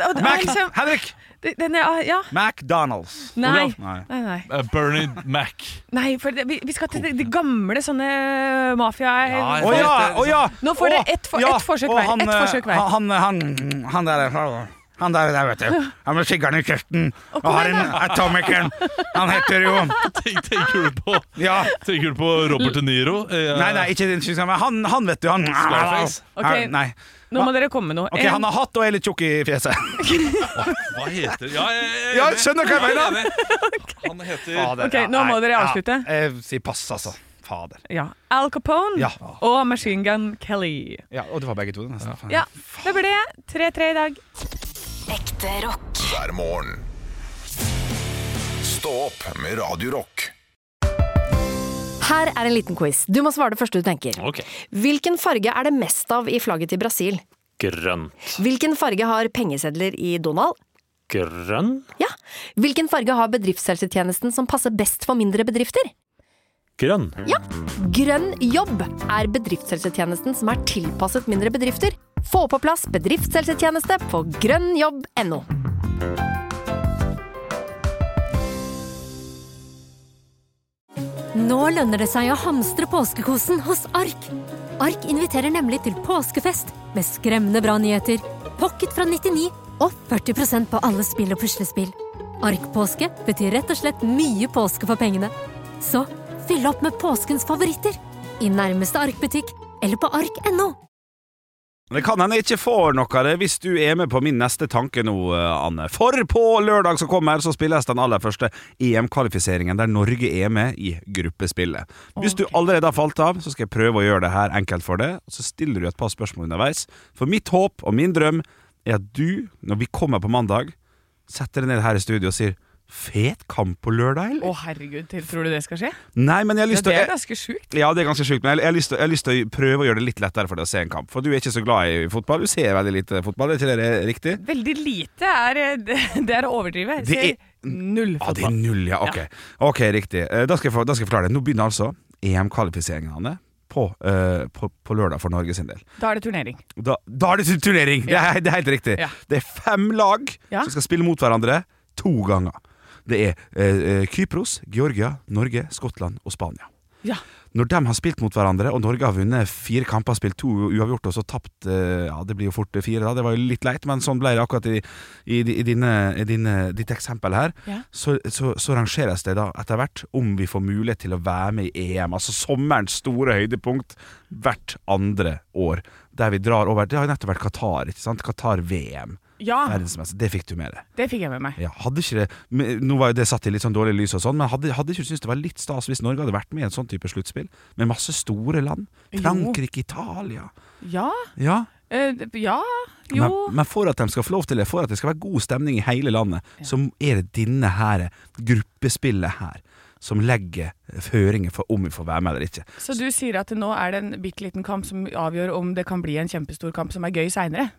[SPEAKER 3] og-
[SPEAKER 2] Mac,
[SPEAKER 3] liksom-
[SPEAKER 2] Henrik!
[SPEAKER 3] det- den er, ah, ja.
[SPEAKER 2] McDonald's.
[SPEAKER 3] Nei.
[SPEAKER 6] Olav.
[SPEAKER 2] Nei.
[SPEAKER 3] Nei, nei.
[SPEAKER 6] Eh, Bernie Mac.
[SPEAKER 3] nei for det, vi, vi skal til de, de gamle sånne mafia...
[SPEAKER 6] Ja,
[SPEAKER 2] Å ja! Å ja!
[SPEAKER 3] Nå får dere
[SPEAKER 2] Å,
[SPEAKER 3] ett for-
[SPEAKER 2] ja,
[SPEAKER 3] ett forsøk
[SPEAKER 2] og
[SPEAKER 3] hver,
[SPEAKER 2] Han,
[SPEAKER 3] ett
[SPEAKER 2] eh,
[SPEAKER 3] forsøk hver.
[SPEAKER 2] Han, han, han der eh, han der, der, vet du. Han med siggeren i kjeften og
[SPEAKER 3] kom
[SPEAKER 2] har
[SPEAKER 3] igjen,
[SPEAKER 2] en atomicen. Han heter jo
[SPEAKER 6] Tenk- Tenker du på,
[SPEAKER 2] Ja.
[SPEAKER 6] tenker du på Robert De Niro? Eh,
[SPEAKER 2] Nei, nei, ikke den tyske, men han, han vet du. Han
[SPEAKER 6] Scarface.
[SPEAKER 3] Ok.
[SPEAKER 2] Nei.
[SPEAKER 3] Nå må dere komme med noe.
[SPEAKER 2] Ok,
[SPEAKER 3] En-
[SPEAKER 2] Han har hatt og er litt tjukk i fjeset.
[SPEAKER 6] Hva heter Ja, jeg, jeg,
[SPEAKER 2] Ja, skjønner hva jeg mener.
[SPEAKER 6] Han heter
[SPEAKER 2] Fader,
[SPEAKER 3] Ok, nå må dere avslutte.
[SPEAKER 2] Ja, jeg sier pass, altså. Fader.
[SPEAKER 3] Ja. Al Capone
[SPEAKER 2] Ja.
[SPEAKER 3] og Machine Gun Kelly.
[SPEAKER 2] Ja, og det var begge to, nesten.
[SPEAKER 3] Ja, det ble 3-3 i dag.
[SPEAKER 5] Ekte rock.
[SPEAKER 1] hver morgen. Stå opp med Radio Rock.
[SPEAKER 8] Her er en liten quiz. Du må svare det første du tenker.
[SPEAKER 9] Ok.
[SPEAKER 8] Hvilken farge er det mest av i flagget til Brasil?
[SPEAKER 9] Grønn.
[SPEAKER 8] Hvilken farge har pengesedler i Donald?
[SPEAKER 9] Grønn.
[SPEAKER 8] Ja. Hvilken farge har bedriftshelsetjenesten som passer best for mindre bedrifter?
[SPEAKER 9] Grønn.
[SPEAKER 8] Ja. Grønn jobb er bedriftshelsetjenesten som er tilpasset mindre bedrifter. Få på plass bedriftshelsetjeneste på grønnjobb.no.
[SPEAKER 10] Nå lønner det seg å hamstre påskekosen hos Ark. Ark inviterer nemlig til påskefest med skremmende bra nyheter, pocket fra 99 og 40 på alle spill og puslespill. Ark-påske betyr rett og slett mye påske for pengene. Så fyll opp med påskens favoritter i nærmeste Ark-butikk eller på ark.no.
[SPEAKER 2] Det kan hende jeg ikke får noe av det hvis du er med på min neste tanke nå, eh, Anne. For på lørdag som kommer, så spilles den aller første EM-kvalifiseringen der Norge er med i gruppespillet. Hvis du allerede har falt av, så skal jeg prøve å gjøre det her enkelt for deg. Og så stiller du et par spørsmål underveis. For mitt håp og min drøm er at du, når vi kommer på mandag, setter deg ned her i studio og sier Fet kamp på lørdag,
[SPEAKER 3] Å
[SPEAKER 2] eller?
[SPEAKER 3] herregud, til- tror du det skal skje?
[SPEAKER 2] Nei, men jeg har
[SPEAKER 3] Ja,
[SPEAKER 2] lyst til
[SPEAKER 3] det
[SPEAKER 2] å
[SPEAKER 3] er ganske sjukt.
[SPEAKER 2] ja, det er ganske sjukt, men jeg, jeg, har lyst til, jeg har lyst til å prøve å gjøre det litt lettere for deg å se en kamp. For du er ikke så glad i fotball. Du ser veldig lite fotball, er ikke det riktig?
[SPEAKER 3] Veldig lite er eh, det, det er å overdrive. Jeg
[SPEAKER 2] Det er-
[SPEAKER 3] Ser null
[SPEAKER 2] Ja, Ah, det er
[SPEAKER 3] fotball.
[SPEAKER 2] null, ja. Ok, Ok, riktig. Eh, Da skal, jeg, for- da skal jeg forklare det. Nå begynner altså EM-kvalifiseringene på, eh, på, på lørdag for Norge sin del.
[SPEAKER 3] Da er det turnering.
[SPEAKER 2] Da, da er det tu- turnering! Det er, det er helt riktig.
[SPEAKER 3] Ja.
[SPEAKER 2] Det er fem lag
[SPEAKER 3] Ja.
[SPEAKER 2] som skal spille mot hverandre to ganger. Det er eh, eh, Kypros, Georgia, Norge, Skottland og Spania.
[SPEAKER 3] Ja.
[SPEAKER 2] Når de har spilt mot hverandre, og Norge har vunnet fire kamper, spilt to uavgjort og så tapt eh, Ja, det blir jo fort fire, da. Det var jo litt leit, men sånn ble det akkurat i, i, i, dine, i dine, ditt eksempel her.
[SPEAKER 3] Ja.
[SPEAKER 2] Så, så, så rangeres det da etter hvert om vi får mulighet til å være med i EM. Altså sommerens store høydepunkt hvert andre år. Der vi drar over Det har jo nettopp vært Qatar, ikke sant? Qatar-VM.
[SPEAKER 3] Ja,
[SPEAKER 2] Verdensmester. Det fikk du med deg.
[SPEAKER 3] det fikk jeg med meg.
[SPEAKER 2] Ja, hadde ikke det, men, nå var jo det satt i litt sånn dårlig lys og sånn, men hadde, hadde ikke du syntes det var litt stas hvis Norge hadde vært med i en sånn type sluttspill? Med masse store land?
[SPEAKER 3] Jo.
[SPEAKER 2] Frankrike, Italia
[SPEAKER 3] Ja,
[SPEAKER 2] Ja,
[SPEAKER 3] eh, ja,
[SPEAKER 2] men,
[SPEAKER 3] jo.
[SPEAKER 2] men for at de skal få lov til det, for at det skal være god stemning i hele landet, så er det denne her gruppespillet her. som legger føringer for om vi får være med eller ikke.
[SPEAKER 3] Så du sier at nå er det en bitte liten kamp som avgjør om det kan bli en kjempestor kamp som er gøy seinere?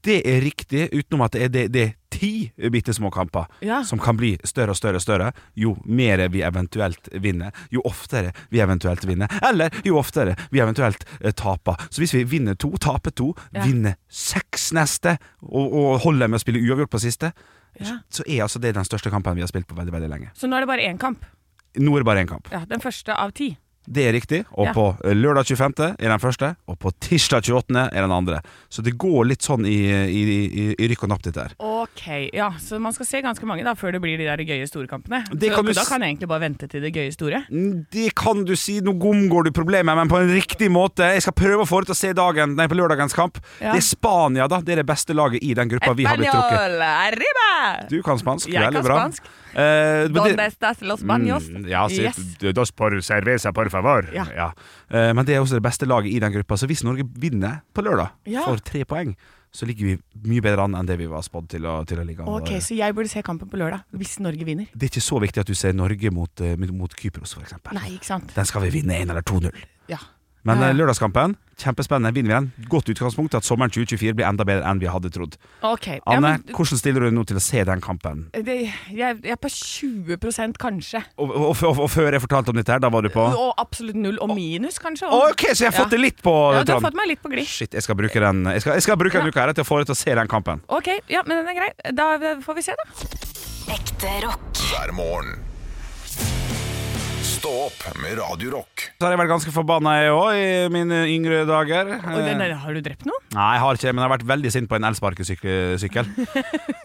[SPEAKER 2] Det er riktig, utenom at det er, det, det er ti bitte små kamper
[SPEAKER 3] Ja.
[SPEAKER 2] som kan bli større og større og større jo mer vi eventuelt vinner, jo oftere vi eventuelt vinner, eller jo oftere vi eventuelt eh, taper. Så hvis vi vinner to, taper to,
[SPEAKER 3] Ja.
[SPEAKER 2] vinner seks neste, og, og holder med å spille uavgjort på siste,
[SPEAKER 3] Ja.
[SPEAKER 2] så er altså det den største kampen vi har spilt på veldig, veldig lenge.
[SPEAKER 3] Så nå er det bare én kamp.
[SPEAKER 2] Nå er det bare én kamp.
[SPEAKER 3] Ja, Den første av ti.
[SPEAKER 2] Det er riktig. Og
[SPEAKER 3] Ja.
[SPEAKER 2] på eh, lørdag 25. er den første, og på tirsdag 28. er den andre. Så det går litt sånn i, i, i, i rykk og napp, dette her.
[SPEAKER 3] Ok, ja, Så man skal se ganske mange da før det blir de der gøye store kampene.
[SPEAKER 2] Det
[SPEAKER 3] så,
[SPEAKER 2] kan du
[SPEAKER 3] da
[SPEAKER 2] s-
[SPEAKER 3] kan jeg egentlig bare vente til det gøye store.
[SPEAKER 2] Mm, Det kan du si. Nå omgår du problemet, men på en riktig måte. Jeg skal prøve å få deg til å se dagen, nei, på lørdagens kamp.
[SPEAKER 3] Ja.
[SPEAKER 2] Det er Spania, da. Det er det beste laget i den gruppa vi har blitt trukket.
[SPEAKER 3] Español, arriba!
[SPEAKER 2] Du kan spansk.
[SPEAKER 3] Jeg
[SPEAKER 2] veldig
[SPEAKER 3] kan
[SPEAKER 2] bra.
[SPEAKER 3] spansk.
[SPEAKER 2] Eh, men det-
[SPEAKER 3] Don bestas los baños.
[SPEAKER 2] Mm, ja, si,
[SPEAKER 3] Yes.
[SPEAKER 2] Dos por cerveza, por favor.
[SPEAKER 3] Ja.
[SPEAKER 2] Eh, men det er også det beste laget i den gruppa, så hvis Norge vinner på lørdag
[SPEAKER 3] Ja.
[SPEAKER 2] for tre poeng, så ligger vi mye bedre an enn det vi var spådd til, å- til å ligge an. eh,
[SPEAKER 3] Ok, Så jeg burde se kampen på lørdag, hvis Norge vinner?
[SPEAKER 2] Det er ikke så viktig at du ser Norge mot, eh, mot Kypros, f.eks.
[SPEAKER 3] Nei, ikke sant?
[SPEAKER 2] Den skal vi vinne 1 eller 2-0.
[SPEAKER 3] Ja.
[SPEAKER 2] Men
[SPEAKER 3] Ja, ja.
[SPEAKER 2] eh, lørdagskampen, kjempespennende. Vinner vi den? Godt utgangspunkt at sommeren 2024 blir enda bedre enn vi hadde trodd.
[SPEAKER 3] Ok, ja,
[SPEAKER 2] Anne,
[SPEAKER 3] men,
[SPEAKER 2] hvordan stiller du nå til å se den kampen?
[SPEAKER 3] det, jeg, jeg er på 20 kanskje.
[SPEAKER 2] Og, og, og, og før jeg fortalte om dette her, da var du på
[SPEAKER 3] Og absolutt null og minus, kanskje.
[SPEAKER 2] Å, OK, så jeg har fått det litt på
[SPEAKER 3] Ja, du
[SPEAKER 2] tann.
[SPEAKER 3] har fått meg litt på glid.
[SPEAKER 2] Shit, jeg skal bruke den Jeg skal, jeg skal bruke den uka her til å få deg til å se den kampen.
[SPEAKER 3] Ok, ja, men den er grei. Da får vi se, da.
[SPEAKER 5] Ekte rock.
[SPEAKER 1] hver morgen. Stå opp med Radio Rock.
[SPEAKER 2] Så har jeg vært ganske forbanna, jeg òg, i mine yngre dager.
[SPEAKER 3] Oi, den
[SPEAKER 2] Eh,
[SPEAKER 3] der, har du drept noen?
[SPEAKER 2] Nei, jeg har ikke men jeg har vært veldig sint på en elsparkesykkel.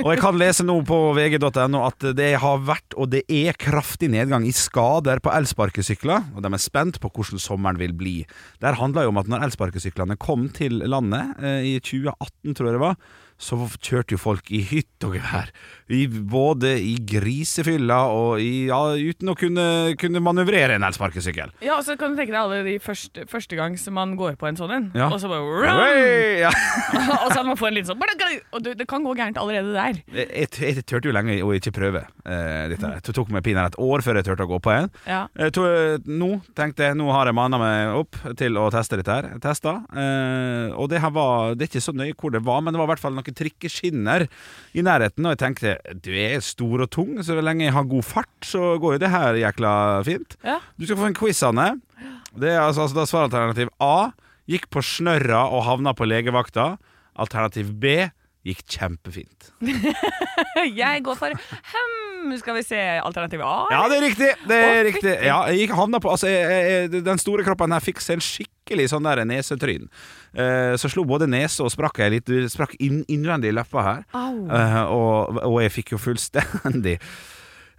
[SPEAKER 2] og jeg kan lese nå på vg.no at det har vært, og det er, kraftig nedgang i skader på elsparkesykler. Og de er spent på hvordan sommeren vil bli. Det her handla jo om at når elsparkesyklene kom til landet eh, i 2018, tror jeg det var, så kjørte jo folk i hytt og gevær. I, både i grisefylla og i, ja, uten å kunne, kunne manøvrere en elsparkesykkel.
[SPEAKER 3] Ja, og så kan du tenke deg alle de første, første gang som man går på en sånn en.
[SPEAKER 2] Ja.
[SPEAKER 3] Og så bare
[SPEAKER 2] Oi, ja.
[SPEAKER 3] Og så man får en liten sånn Og du, det kan gå gærent allerede der.
[SPEAKER 2] Jeg, jeg, jeg turte jo lenge å ikke prøve eh, dette. her. Det tok meg pinadø et år før jeg turte å gå på en.
[SPEAKER 3] Ja.
[SPEAKER 2] Jeg tror, eh, nå tenkte jeg Nå har jeg manna meg opp til å teste dette her. Jeg Testa. Eh, og det her var Det er ikke så nøye hvor det var, men det var i hvert fall noen trikkeskinner i nærheten. Og jeg tenkte du er stor og tung, så lenge jeg har god fart, så går jo det her jækla fint.
[SPEAKER 3] Ja.
[SPEAKER 2] Du skal få en quiz, Anne. Det er altså, altså da svaralternativ A gikk på snørra og havna på legevakta. Alternativ B gikk kjempefint.
[SPEAKER 3] Jeg går for Hm, skal vi se alternativ A?
[SPEAKER 2] Ja, det er riktig! Det er
[SPEAKER 3] Å,
[SPEAKER 2] riktig.
[SPEAKER 3] fytti.
[SPEAKER 2] Ja, jeg gikk havna på altså, jeg, jeg, Den store kroppen her fikk seg en skikkelig sånn der nesetryn. Eh, så slo både nese og sprakk jeg litt Sprakk inn, innvendig i leppa her. Eh, og, og jeg fikk jo fullstendig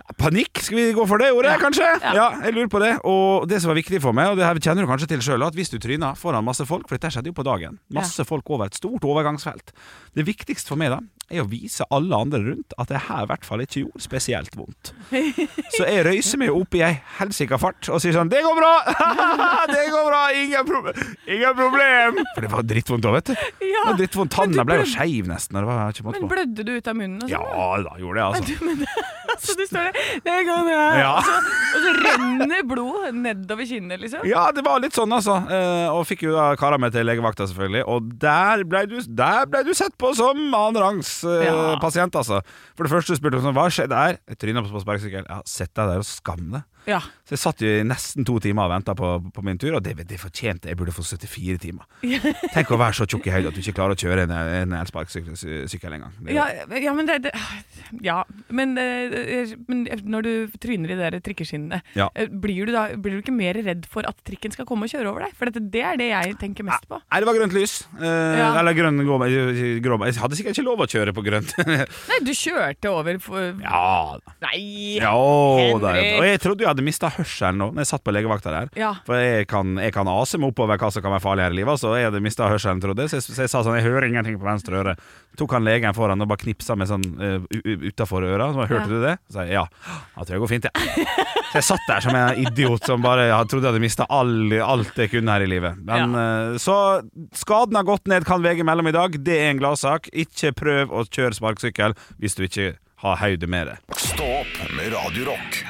[SPEAKER 2] Panikk, skal vi gå for det ordet, kanskje? Ja. jeg lurer på det. Og det som var viktig for meg, og det her kjenner du kanskje til sjøl, at hvis du tryner foran masse folk, for dette skjedde jo på dagen, masse folk over et stort overgangsfelt Det viktigste for meg da, er å vise alle andre rundt at det her i hvert fall ikke gjorde spesielt vondt. Så jeg røyser meg opp i ei helsika fart og sier sånn 'Det går bra! det går bra! Ingen, proble ingen problem!' For det var drittvondt da, vet du. Det var drittvondt. Tanna ble jo skeiv nesten. og Det var ikke måte
[SPEAKER 3] Men
[SPEAKER 2] på.
[SPEAKER 3] blødde du ut av munnen? og
[SPEAKER 2] Ja
[SPEAKER 3] sånn?
[SPEAKER 2] da, gjorde det, altså.
[SPEAKER 3] Du, men, så du står der Det kan jeg.
[SPEAKER 2] Ja.
[SPEAKER 3] Og så renner blod nedover kinnet, liksom.
[SPEAKER 2] Ja, det var litt sånn, altså. Eh, og fikk jo da kara meg til legevakta, selvfølgelig. Og der ble du, der ble du sett på som annenrangs eh,
[SPEAKER 3] Ja.
[SPEAKER 2] pasient, altså. For det første spurte hun sånn, hva skjedde her? Jeg tryna på sparkesykkel. Ja, sett deg der og skam deg.
[SPEAKER 3] Ja.
[SPEAKER 2] Så jeg satt jo i nesten to timer og venta på, på min tur, og det, det fortjente jeg. Jeg burde få 74 timer. Tenk å være så tjukk i høyde at du ikke klarer å kjøre en, en elsparkesykkel engang. Det-
[SPEAKER 3] Ja, ja, men det, det Ja. Men, eh, men når du tryner i de der trikkeskinnene,
[SPEAKER 2] Ja.
[SPEAKER 3] eh, blir, du da, blir du ikke mer redd for at trikken skal komme og kjøre over deg? For dette, det er det jeg tenker mest på.
[SPEAKER 2] Nei, det var grønt lys. Eh,
[SPEAKER 3] Ja.
[SPEAKER 2] Eller grønn gå- grå Jeg hadde sikkert ikke lov å kjøre på grønt.
[SPEAKER 3] Nei, du kjørte over for,
[SPEAKER 2] ja da.
[SPEAKER 3] Nei!
[SPEAKER 2] Ja, og der,
[SPEAKER 3] Henrik.
[SPEAKER 2] og jeg trodde jeg hadde mista hørselen nå Når jeg satt på legevakta der.
[SPEAKER 3] Ja.
[SPEAKER 2] For jeg kan, jeg kan ase meg oppover hva som kan være farlig her i livet. Så jeg hadde mista hørselen, trodde jeg. Så, jeg. så jeg sa sånn Jeg hører ingenting på venstre øre. Tok han legen foran og bare knipsa meg sånn uh, utafor øra. Så bare, Hørte du det? Så sa jeg ja. Jeg tror det går fint, jeg. Så jeg satt der som en idiot som bare jeg trodde jeg hadde mista all, alt jeg kunne her i livet. Men, eh, så skaden har gått ned, kan VG melde om i dag. Det er en gladsak. Ikke prøv å kjøre sparkesykkel hvis du ikke har hodet med det.
[SPEAKER 1] Stå opp med Radio Rock.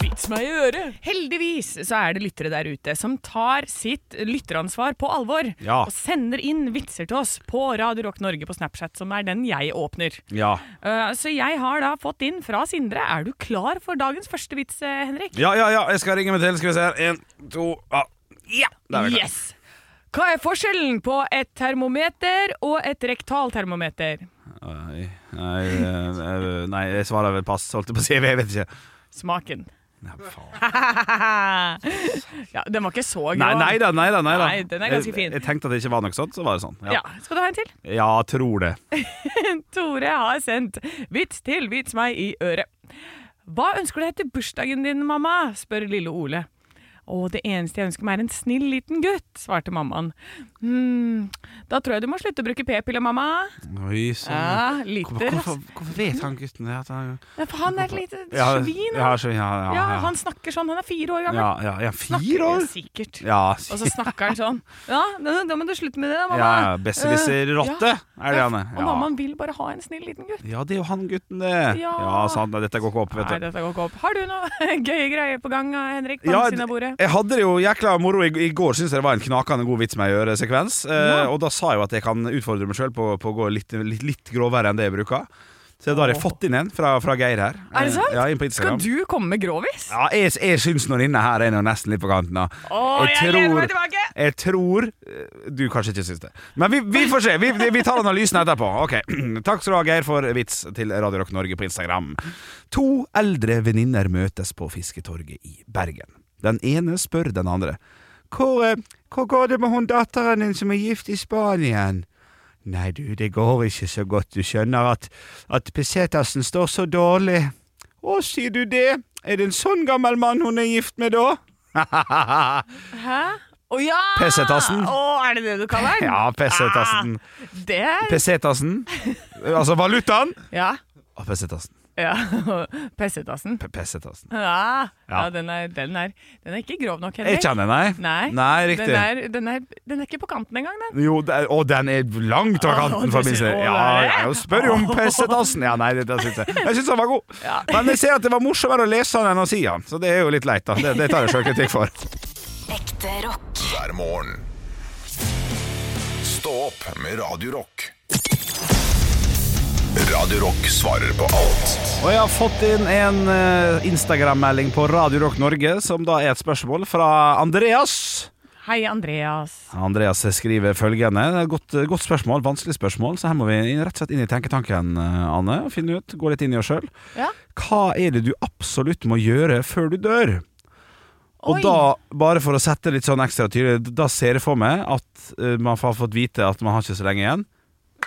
[SPEAKER 3] Kyss meg i øret! Heldigvis så er det lyttere der ute som tar sitt lytteransvar på alvor.
[SPEAKER 2] Ja.
[SPEAKER 3] Og sender inn vitser til oss på Radio Rock Norge på Snapchat, som er den jeg åpner.
[SPEAKER 2] Ja.
[SPEAKER 3] Eh, så jeg har da fått inn fra Sindre. Er du klar for dagens første vits, eh, Henrik?
[SPEAKER 2] ja, ja, ja, jeg skal ringe meg til. Skal vi se her. En, to ah. Ja! Da er vi klare.
[SPEAKER 3] Yes! Hva er forskjellen på et termometer og et rektaltermometer?
[SPEAKER 2] Nei, nei, eh, nei, jeg svarer vel pass, holdt jeg på å si. Jeg vet ikke.
[SPEAKER 3] Smaken.
[SPEAKER 2] Nei, faen.
[SPEAKER 3] ja, den var ikke så grov.
[SPEAKER 2] Nei, nei da, nei da. Nei, da.
[SPEAKER 3] Nei, den er ganske fin.
[SPEAKER 2] Jeg, jeg tenkte at det ikke var noe sånt, så var det sånn.
[SPEAKER 3] Ja. Skal du ha en til?
[SPEAKER 2] ja tror det.
[SPEAKER 3] Tore har sendt vits til vits meg i øret. Hva ønsker du deg til bursdagen din, mamma? spør lille Ole. Å, det eneste jeg ønsker meg er en snill liten gutt, svarte mammaen. Hm, da tror jeg du må slutte å bruke p-piller, mamma.
[SPEAKER 2] Oi, så...
[SPEAKER 3] Ja,
[SPEAKER 2] Hvor-
[SPEAKER 3] liter,
[SPEAKER 2] Hvorfor,
[SPEAKER 3] ass.
[SPEAKER 2] hvorfor vet han gutten det? At han...
[SPEAKER 3] Ja, for Han er et lite
[SPEAKER 2] Ja,
[SPEAKER 3] svin.
[SPEAKER 2] Ja,
[SPEAKER 3] han.
[SPEAKER 2] svin, ja, ja,
[SPEAKER 3] Ja,
[SPEAKER 2] ja.
[SPEAKER 3] han snakker sånn. Han er fire år gammel.
[SPEAKER 2] ja, ja, ja,
[SPEAKER 3] Snakker
[SPEAKER 2] fire år?
[SPEAKER 3] Sikkert.
[SPEAKER 2] Ja,
[SPEAKER 3] Og så snakker han sånn. Ja, da, da må du slutte med det, da, mamma.
[SPEAKER 2] ja Besserwisser-rotte er det han er.
[SPEAKER 3] Og
[SPEAKER 2] Ja.
[SPEAKER 3] mammaen vil bare ha en snill liten gutt.
[SPEAKER 2] ja, det er jo han gutten, det.
[SPEAKER 3] Ja.
[SPEAKER 2] Ja, sant. Nei, Dette går ikke opp,
[SPEAKER 3] Nei,
[SPEAKER 2] vet du.
[SPEAKER 3] dette går ikke opp. Har du noe gøye greier på gang, Henrik? På
[SPEAKER 2] Ja,
[SPEAKER 3] andre siden av bordet?
[SPEAKER 2] Jeg hadde det jo jækla moro i, i går, syns jeg det var en knakende god vits med å gjøre sekvens. Eh,
[SPEAKER 3] Ja.
[SPEAKER 2] og da sa jeg jo at jeg kan utfordre meg sjøl på, på å gå litt, litt, litt grovere enn det jeg bruker. Så da har jeg fått inn en fra, fra Geir her.
[SPEAKER 3] Er det
[SPEAKER 2] Eh,
[SPEAKER 3] sant?
[SPEAKER 2] Ja, inn på
[SPEAKER 3] Skal
[SPEAKER 2] Instagram.
[SPEAKER 3] du komme med grovis?
[SPEAKER 2] Ja, jeg, jeg syns noen inne her er nå nesten litt på kanten. da.
[SPEAKER 3] Å, jeg, lener meg tilbake!
[SPEAKER 2] Jeg tror eh, Du kanskje ikke syns det. Men vi, vi får se. Vi, vi tar analysen etterpå. Ok, Takk skal du ha, Geir, for vits til Radio Rock Norge på Instagram. To eldre venninner møtes på Fisketorget i Bergen. Den ene spør den andre. Hvor, eh, hvor går det med hun datteren din som er gift i Spanien? Nei, du, det går ikke så godt. Du skjønner at, at Pesetersen står så dårlig. Å, sier du det? Er det en sånn gammel mann hun er gift med, da?
[SPEAKER 3] Hæ? Å ja!
[SPEAKER 2] Pesetassen.
[SPEAKER 3] Å, er det det du kaller den?
[SPEAKER 2] Ja, pesetassen.
[SPEAKER 3] Ah, det er
[SPEAKER 2] Pesetassen. Altså valutaen.
[SPEAKER 3] Ja.
[SPEAKER 2] Og pesetassen.
[SPEAKER 3] ja. Pessetassen.
[SPEAKER 2] P- Pesetassen.
[SPEAKER 3] Ja, ja
[SPEAKER 2] Ja.
[SPEAKER 3] den, er, den, er, den er ikke grov nok,
[SPEAKER 2] Er
[SPEAKER 3] Henrik.
[SPEAKER 2] ikke han det, nei?
[SPEAKER 3] Nei,
[SPEAKER 2] Nei, riktig.
[SPEAKER 3] Den, er, den, er, den er ikke på kanten engang, den.
[SPEAKER 2] Jo, det er, og den er langt over kanten,
[SPEAKER 3] Å,
[SPEAKER 2] for
[SPEAKER 3] du
[SPEAKER 2] min
[SPEAKER 3] sier-
[SPEAKER 2] del.
[SPEAKER 3] å,
[SPEAKER 2] Ja,
[SPEAKER 3] nei.
[SPEAKER 2] jeg spør jo om pesetassen. Ja, nei, det, det syns jeg. Jeg syns han var god.
[SPEAKER 3] Ja.
[SPEAKER 2] Men jeg ser at det var morsommere å lese han enn å si han, så det er jo litt leit, da. Det, det tar jeg sjølkritikk for.
[SPEAKER 5] Ekte rock.
[SPEAKER 1] hver morgen. Stå opp med Radio Rock. Radio Rock svarer på alt
[SPEAKER 2] Og jeg har fått inn en eh, Instagram-melding på Radio Rock Norge, som da er et spørsmål fra Andreas.
[SPEAKER 3] Hei, Andreas.
[SPEAKER 2] Andreas skriver følgende. Det er et Godt, godt spørsmål, vanskelig spørsmål. Så her må vi inn- rett og slett inn i tenketanken, eh, Anne. Og finne ut, Gå litt inn i oss sjøl.
[SPEAKER 3] Ja.
[SPEAKER 2] Hva er det du absolutt må gjøre før du dør? Og
[SPEAKER 3] Oi.
[SPEAKER 2] da, bare for å sette litt sånn ekstra tydelig, da ser jeg for meg at eh, man har fått vite at man har ikke så lenge igjen.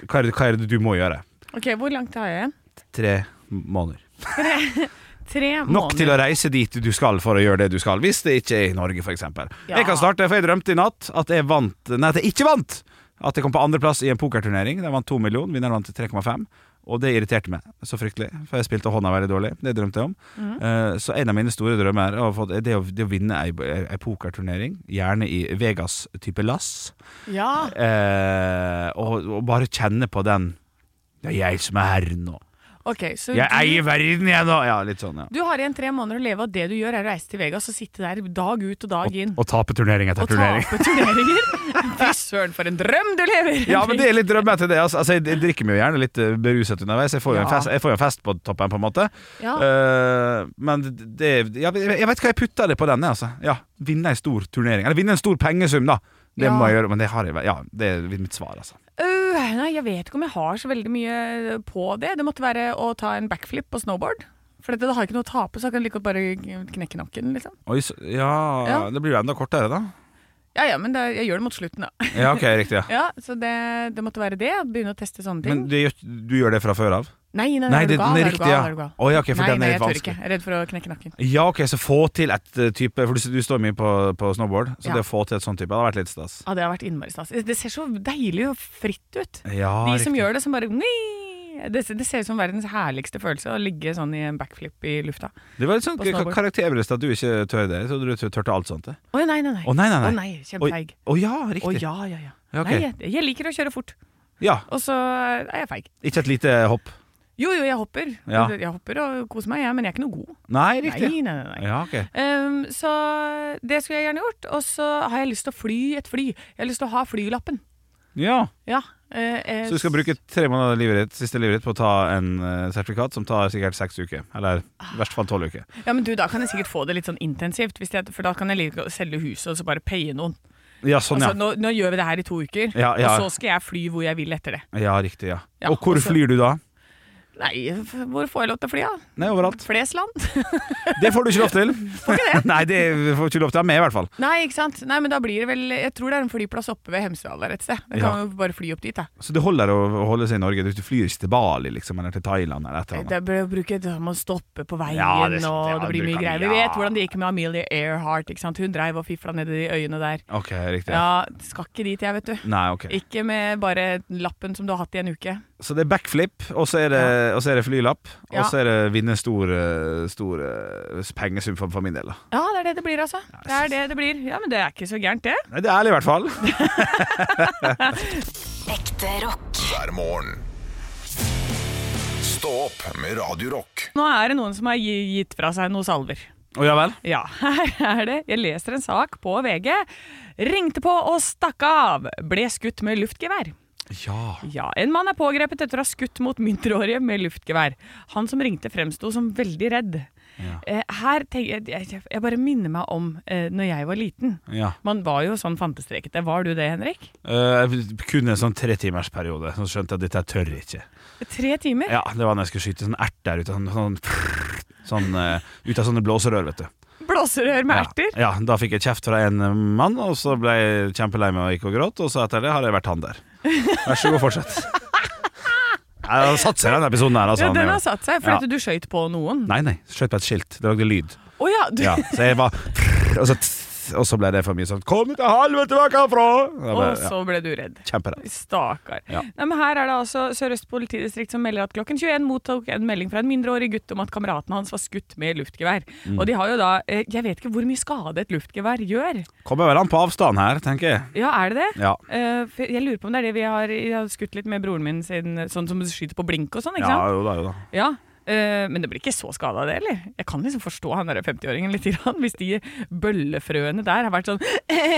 [SPEAKER 2] Hva er det, hva er det du må gjøre?
[SPEAKER 3] OK, hvor langt har jeg igjen?
[SPEAKER 2] Tre måneder.
[SPEAKER 3] Tre måneder.
[SPEAKER 2] Nok til å reise dit du skal for å gjøre det du skal, hvis det ikke er i Norge, f.eks.
[SPEAKER 3] Ja.
[SPEAKER 2] Jeg kan starte, for jeg drømte i natt at jeg vant Nei, at jeg ikke vant! At jeg kom på andreplass i en pokerturnering. Der jeg vant to millioner, vinneren vant 3,5. Og det irriterte meg så fryktelig, for jeg spilte hånda veldig dårlig. Det drømte jeg om.
[SPEAKER 3] Mhm.
[SPEAKER 2] Eh, så en av mine store drømmer er å få- det å, det å vinne ei, ei pokerturnering, gjerne i Vegas-type lass,
[SPEAKER 3] Ja.
[SPEAKER 2] eh, og, og bare kjenne på den Det er jeg som er herren nå.
[SPEAKER 3] OK, så
[SPEAKER 2] Jeg
[SPEAKER 3] du-
[SPEAKER 2] eier verden, jeg nå! Ja, litt sånn, ja.
[SPEAKER 3] Du har igjen tre måneder å leve, og det du gjør er å reise til Vegas og sitte der dag ut og dag inn.
[SPEAKER 2] Og tape turnering etter
[SPEAKER 3] Og
[SPEAKER 2] turnering.
[SPEAKER 3] tape turneringer! Fy søren, for en drøm du lever!
[SPEAKER 2] Ja, men det er litt drømmete, det. Altså, Altså, jeg- jeg drikker meg jo gjerne litt eh, beruset underveis. Jeg får jo en
[SPEAKER 3] Ja.
[SPEAKER 2] fest, jeg får jo en fest på toppen, på en måte.
[SPEAKER 3] Ja.
[SPEAKER 2] Eh, men det ja, Jeg vet hva jeg putter det på denne, altså. Ja, vinne en stor turnering. Eller vinne en stor pengesum, da. Det
[SPEAKER 3] Ja.
[SPEAKER 2] må jeg gjøre, men det har jeg vel- Ja, det er mitt svar, altså.
[SPEAKER 3] Øh, nei, jeg vet ikke om jeg har så veldig mye på det. Det måtte være å ta en backflip på snowboard. For dette, da har jeg ikke noe å tape, så jeg kan like godt bare knekke nakken, liksom.
[SPEAKER 2] Oi, så, ja,
[SPEAKER 3] Ja.
[SPEAKER 2] Det blir jo enda kortere, da.
[SPEAKER 3] Ja ja, men det, jeg gjør det mot slutten, da.
[SPEAKER 2] Ja, ok, riktig. ja
[SPEAKER 3] Ja, Så det, det måtte være det. Begynne å teste sånne ting.
[SPEAKER 2] Men du, gjør- du gjør det fra før av?
[SPEAKER 3] nei, nei,
[SPEAKER 2] Nei,
[SPEAKER 3] er du
[SPEAKER 2] det-
[SPEAKER 3] gal?
[SPEAKER 2] den er
[SPEAKER 3] Er du
[SPEAKER 2] riktig,
[SPEAKER 3] gal?
[SPEAKER 2] ja.
[SPEAKER 3] Er du gal?
[SPEAKER 2] Å, ja, ok, for
[SPEAKER 3] nei,
[SPEAKER 2] den er
[SPEAKER 3] nei,
[SPEAKER 2] litt
[SPEAKER 3] jeg tør ikke.
[SPEAKER 2] vanskelig.
[SPEAKER 3] Jeg er redd for å knekke nakken.
[SPEAKER 2] Ja, ok, så få til et eh, type For du, du står mye på, på snowboard, så
[SPEAKER 3] Ja.
[SPEAKER 2] det å få til et sånt type hadde vært litt stas.
[SPEAKER 3] Ja, Det har vært innmari stas. Det ser så deilig og fritt ut.
[SPEAKER 2] Ja, Ah,
[SPEAKER 3] De som
[SPEAKER 2] riktig.
[SPEAKER 3] gjør det, som bare «Nei!» det, det ser ut som verdens herligste følelse å ligge sånn i en backflip i lufta.
[SPEAKER 2] Det var litt sånn
[SPEAKER 3] På snowboard.
[SPEAKER 2] karakterbrist at du ikke tør det. Jeg trodde du tørte alt sånt. det.
[SPEAKER 3] Å nei, nei, nei.
[SPEAKER 2] Å, nei, nei, nei.
[SPEAKER 3] Å, nei Kjempefeig.
[SPEAKER 2] Å ja, riktig.
[SPEAKER 3] Å ja, ja, ja.
[SPEAKER 2] Ja, ok.
[SPEAKER 3] Nei, jeg, jeg liker å kjøre fort,
[SPEAKER 2] Ja,
[SPEAKER 3] og så er jeg feig.
[SPEAKER 2] Ikke et lite hopp.
[SPEAKER 3] Jo, jo, jeg hopper.
[SPEAKER 2] Ja.
[SPEAKER 3] Jeg hopper og koser meg, jeg, men jeg er ikke noe god.
[SPEAKER 2] Nei,
[SPEAKER 3] Nei,
[SPEAKER 2] riktig.
[SPEAKER 3] nei, nei, nei.
[SPEAKER 2] Ja, ok.
[SPEAKER 3] Ehm, så det skulle jeg gjerne gjort. Og så har jeg lyst til å fly et fly. Jeg har lyst til å ha flylappen.
[SPEAKER 2] Ja.
[SPEAKER 3] Ja. eh, eh,
[SPEAKER 2] Så du skal bruke tre måneder av livet ditt, siste livet ditt på å ta en eh, sertifikat som tar sikkert seks uker. Eller
[SPEAKER 3] Ah.
[SPEAKER 2] i verste fall tolv uker.
[SPEAKER 3] Ja, men du, da kan jeg sikkert få det litt sånn intensivt. Hvis jeg, for da kan jeg like godt selge huset og så bare paye noen.
[SPEAKER 2] Ja, sånn,
[SPEAKER 3] Altså, nå, nå gjør vi det her i to uker,
[SPEAKER 2] Ja, ja.
[SPEAKER 3] og så skal jeg fly hvor jeg vil etter det.
[SPEAKER 2] ja. Ja, riktig, ja.
[SPEAKER 3] Ja, altså
[SPEAKER 2] Og hvor
[SPEAKER 3] og så-
[SPEAKER 2] flyr du da?
[SPEAKER 3] Nei, f- hvor får jeg lov til å fly, da?
[SPEAKER 2] Nei, overalt.
[SPEAKER 3] Flesland?
[SPEAKER 2] Det får du ikke lov til.
[SPEAKER 3] Får ikke det?
[SPEAKER 2] Nei, det får du ikke lov til av meg, i hvert fall.
[SPEAKER 3] Nei, ikke sant? Nei, men da blir det vel Jeg tror det er en flyplass oppe ved Hemsedal der et sted. Da
[SPEAKER 2] Ja.
[SPEAKER 3] kan man jo bare fly opp dit, da.
[SPEAKER 2] Så det holder å å holde seg i Norge. Du flyr ikke til Bali liksom, eller til Thailand eller et eller annet.
[SPEAKER 3] Det bør å bruke Da må man stoppe på veien,
[SPEAKER 2] Ja, det er sant, ja,
[SPEAKER 3] og det blir
[SPEAKER 2] du
[SPEAKER 3] mye
[SPEAKER 2] kan-
[SPEAKER 3] greier. Vi
[SPEAKER 2] ja.
[SPEAKER 3] vet hvordan det gikk med Amelia Earhart. Ikke sant? Hun dreiv og fifla nedi de øyene der.
[SPEAKER 2] Ok, riktig.
[SPEAKER 3] Ja, skal ikke dit, jeg, vet du.
[SPEAKER 2] Nei, ok.
[SPEAKER 3] Ikke med bare lappen som du har hatt i en uke.
[SPEAKER 2] Så det er backflip, og så er det, og så er det flylapp,
[SPEAKER 3] Ja.
[SPEAKER 2] og så er det vinne stor, eh, stor eh, pengesum for, for min del. da.
[SPEAKER 3] Ja, det er det det blir, altså. Det er det det blir. Ja, Men det er ikke så gærent, det.
[SPEAKER 2] Nei, det er ærlig i hvert fall.
[SPEAKER 5] Ekte rock.
[SPEAKER 1] hver morgen. Stå opp med Radio Rock.
[SPEAKER 3] Nå er det noen som har gi- gitt fra seg noe salver.
[SPEAKER 2] Å ja vel?
[SPEAKER 3] Ja, her er det. Jeg leser en sak på VG. Ringte på og stakk av. Ble skutt med luftgevær.
[SPEAKER 2] Ja.
[SPEAKER 3] Ja, En mann er pågrepet etter å ha skutt mot mindreårige med luftgevær. Han som ringte fremsto som veldig redd. Eh, Her tenker jeg, jeg, jeg bare minner meg om eh, når jeg var liten.
[SPEAKER 2] ja.
[SPEAKER 3] Man var jo sånn fantestrekete. Var du det, Henrik?
[SPEAKER 2] Eh, jeg kunne en sånn tretimersperiode, så skjønte jeg at dette her tør jeg ikke.
[SPEAKER 3] Tre timer?
[SPEAKER 2] Ja, Det var når jeg skulle skyte sånn erter ut av sånn, sånn, sånn, eh, ut av sånne blåserør, vet du.
[SPEAKER 3] Blåserør med
[SPEAKER 2] Ja.
[SPEAKER 3] erter?
[SPEAKER 2] Ja, Da fikk jeg kjeft fra en eh, mann, og så ble jeg kjempelei meg og gikk og gråt, og så etter det har jeg vært han der. Vær så god, fortsett. Nei, Han satser i denne episoden her, altså.
[SPEAKER 3] Ja,
[SPEAKER 2] han er
[SPEAKER 3] den
[SPEAKER 2] jo-
[SPEAKER 3] har satt seg, for
[SPEAKER 2] Ja.
[SPEAKER 3] at du skøyt på noen.
[SPEAKER 2] Nei, nei, skjøt på et skilt. Det lagde lyd.
[SPEAKER 3] Å ja, du,
[SPEAKER 2] Ja, så jeg var Og så, og så ble det for mye sånn Kom ut av helvete vekk herfra! Da ble-
[SPEAKER 3] Og
[SPEAKER 2] Ja,
[SPEAKER 3] så ble du redd.
[SPEAKER 2] Kjemperedd.
[SPEAKER 3] Stakkar.
[SPEAKER 2] Ja.
[SPEAKER 3] Nei, men her er det altså Sør-Øst politidistrikt som melder at klokken 21 mottok en melding fra en mindreårig gutt om at kameraten hans var skutt med luftgevær.
[SPEAKER 2] Mm.
[SPEAKER 3] Og de har jo da eh, Jeg vet ikke hvor mye skade et luftgevær gjør.
[SPEAKER 2] Kommer vel an på avstand her, tenker jeg.
[SPEAKER 3] Ja, er det det?
[SPEAKER 2] Ja.
[SPEAKER 3] Eh, for jeg lurer på om det er det vi har Jeg har skutt litt med broren min sin, sånn som skyter på blink og sånn, ikke
[SPEAKER 2] Ja,
[SPEAKER 3] sant?
[SPEAKER 2] jo da, jo da.
[SPEAKER 3] Ja. eh, men det blir ikke så skada av det, eller? Jeg kan liksom forstå han der 50-åringen litt, grann, hvis de bøllefrøene der har vært sånn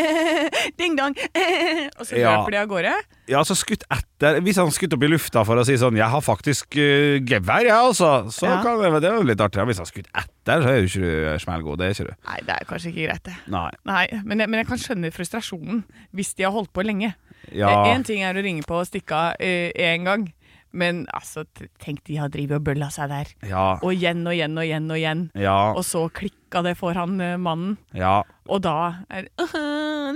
[SPEAKER 3] Ding-dong! og så
[SPEAKER 2] Ja.
[SPEAKER 3] løper de av gårde.
[SPEAKER 2] Ja, så skutt etter Hvis han skutt opp i lufta for å si sånn 'Jeg har faktisk uh, gevær, jeg, altså', så
[SPEAKER 3] Ja.
[SPEAKER 2] kan det Det er jo litt artig. Ja, Hvis han skutt etter, så er jo ikke du eh, smellgod. Det er ikke du.
[SPEAKER 3] Nei, det er kanskje ikke greit, det.
[SPEAKER 2] Nei.
[SPEAKER 3] Nei, men jeg, men jeg kan skjønne frustrasjonen hvis de har holdt på lenge.
[SPEAKER 2] Ja.
[SPEAKER 3] Én ting er å ringe på og stikke av én gang, men altså, t- tenk de har drevet og bølla seg der.
[SPEAKER 2] Ja.
[SPEAKER 3] Og igjen og igjen og igjen og igjen.
[SPEAKER 2] Ja.
[SPEAKER 3] Og så klikka det foran eh, mannen,
[SPEAKER 2] Ja.
[SPEAKER 3] og da er det «Åh, altså.»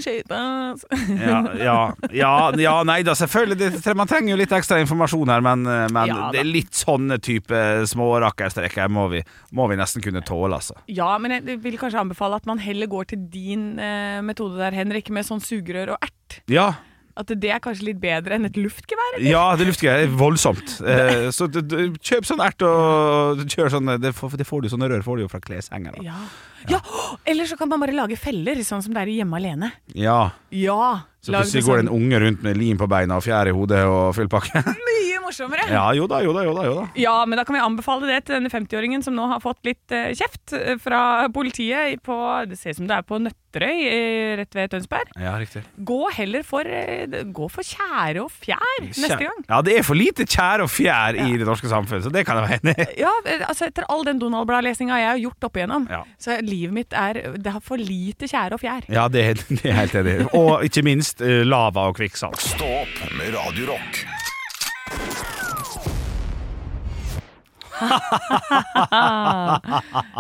[SPEAKER 3] skøytas!»
[SPEAKER 2] Ja, ja, ja, ja, nei da, selvfølgelig. Det, tre- man trenger jo litt ekstra informasjon her, men, eh, men
[SPEAKER 3] Ja, da.
[SPEAKER 2] det er litt sånne type små rakkerstreker må vi, må vi nesten kunne tåle, altså.
[SPEAKER 3] Ja, men jeg vil kanskje anbefale at man heller går til din eh, metode der, Henrik, med sånn sugerør og ert.
[SPEAKER 2] Ja,
[SPEAKER 3] At det er kanskje litt bedre enn et luftgevær?
[SPEAKER 2] ja det luftgreier er voldsomt. Eh, så du, du, kjøp sånn ert og kjør sånn det, får- det får du, Sånne rør får du jo fra kleshenger. Da.
[SPEAKER 3] Ja. ja. Eller så kan man bare lage feller, sånn som det er i Hjemme alene.
[SPEAKER 2] Ja.
[SPEAKER 3] Ja.
[SPEAKER 2] Så
[SPEAKER 3] lag
[SPEAKER 2] plutselig
[SPEAKER 3] det
[SPEAKER 2] går det
[SPEAKER 3] sånn.
[SPEAKER 2] en unge rundt med lim på beina og fjær i hodet og full pakke.
[SPEAKER 3] Mye morsommere. Ja.
[SPEAKER 2] ja, jo da, jo da, jo da. Jo da.
[SPEAKER 3] men da kan vi anbefale det til denne 50-åringen som nå har fått litt eh, kjeft eh, fra politiet på Det ser ut som det er på Nøtterøy, eh, rett ved Tønsberg.
[SPEAKER 2] Ja, riktig.
[SPEAKER 3] Gå heller for, eh, gå for tjære og fjær neste gang.
[SPEAKER 2] Ja, det er for lite tjær og fjær i det norske samfunnet, så det kan jeg være enig i.
[SPEAKER 3] Ja, eh, altså Etter all den Donald-Blad-lesinga jeg har gjort opp igjennom,
[SPEAKER 2] Ja.
[SPEAKER 3] så livet mitt er Det har for lite tjære og fjær.
[SPEAKER 2] Ja, det er, det er jeg helt enig. i. Og ikke minst eh, lava og kvikksand.
[SPEAKER 1] Stå opp med Radio Rock.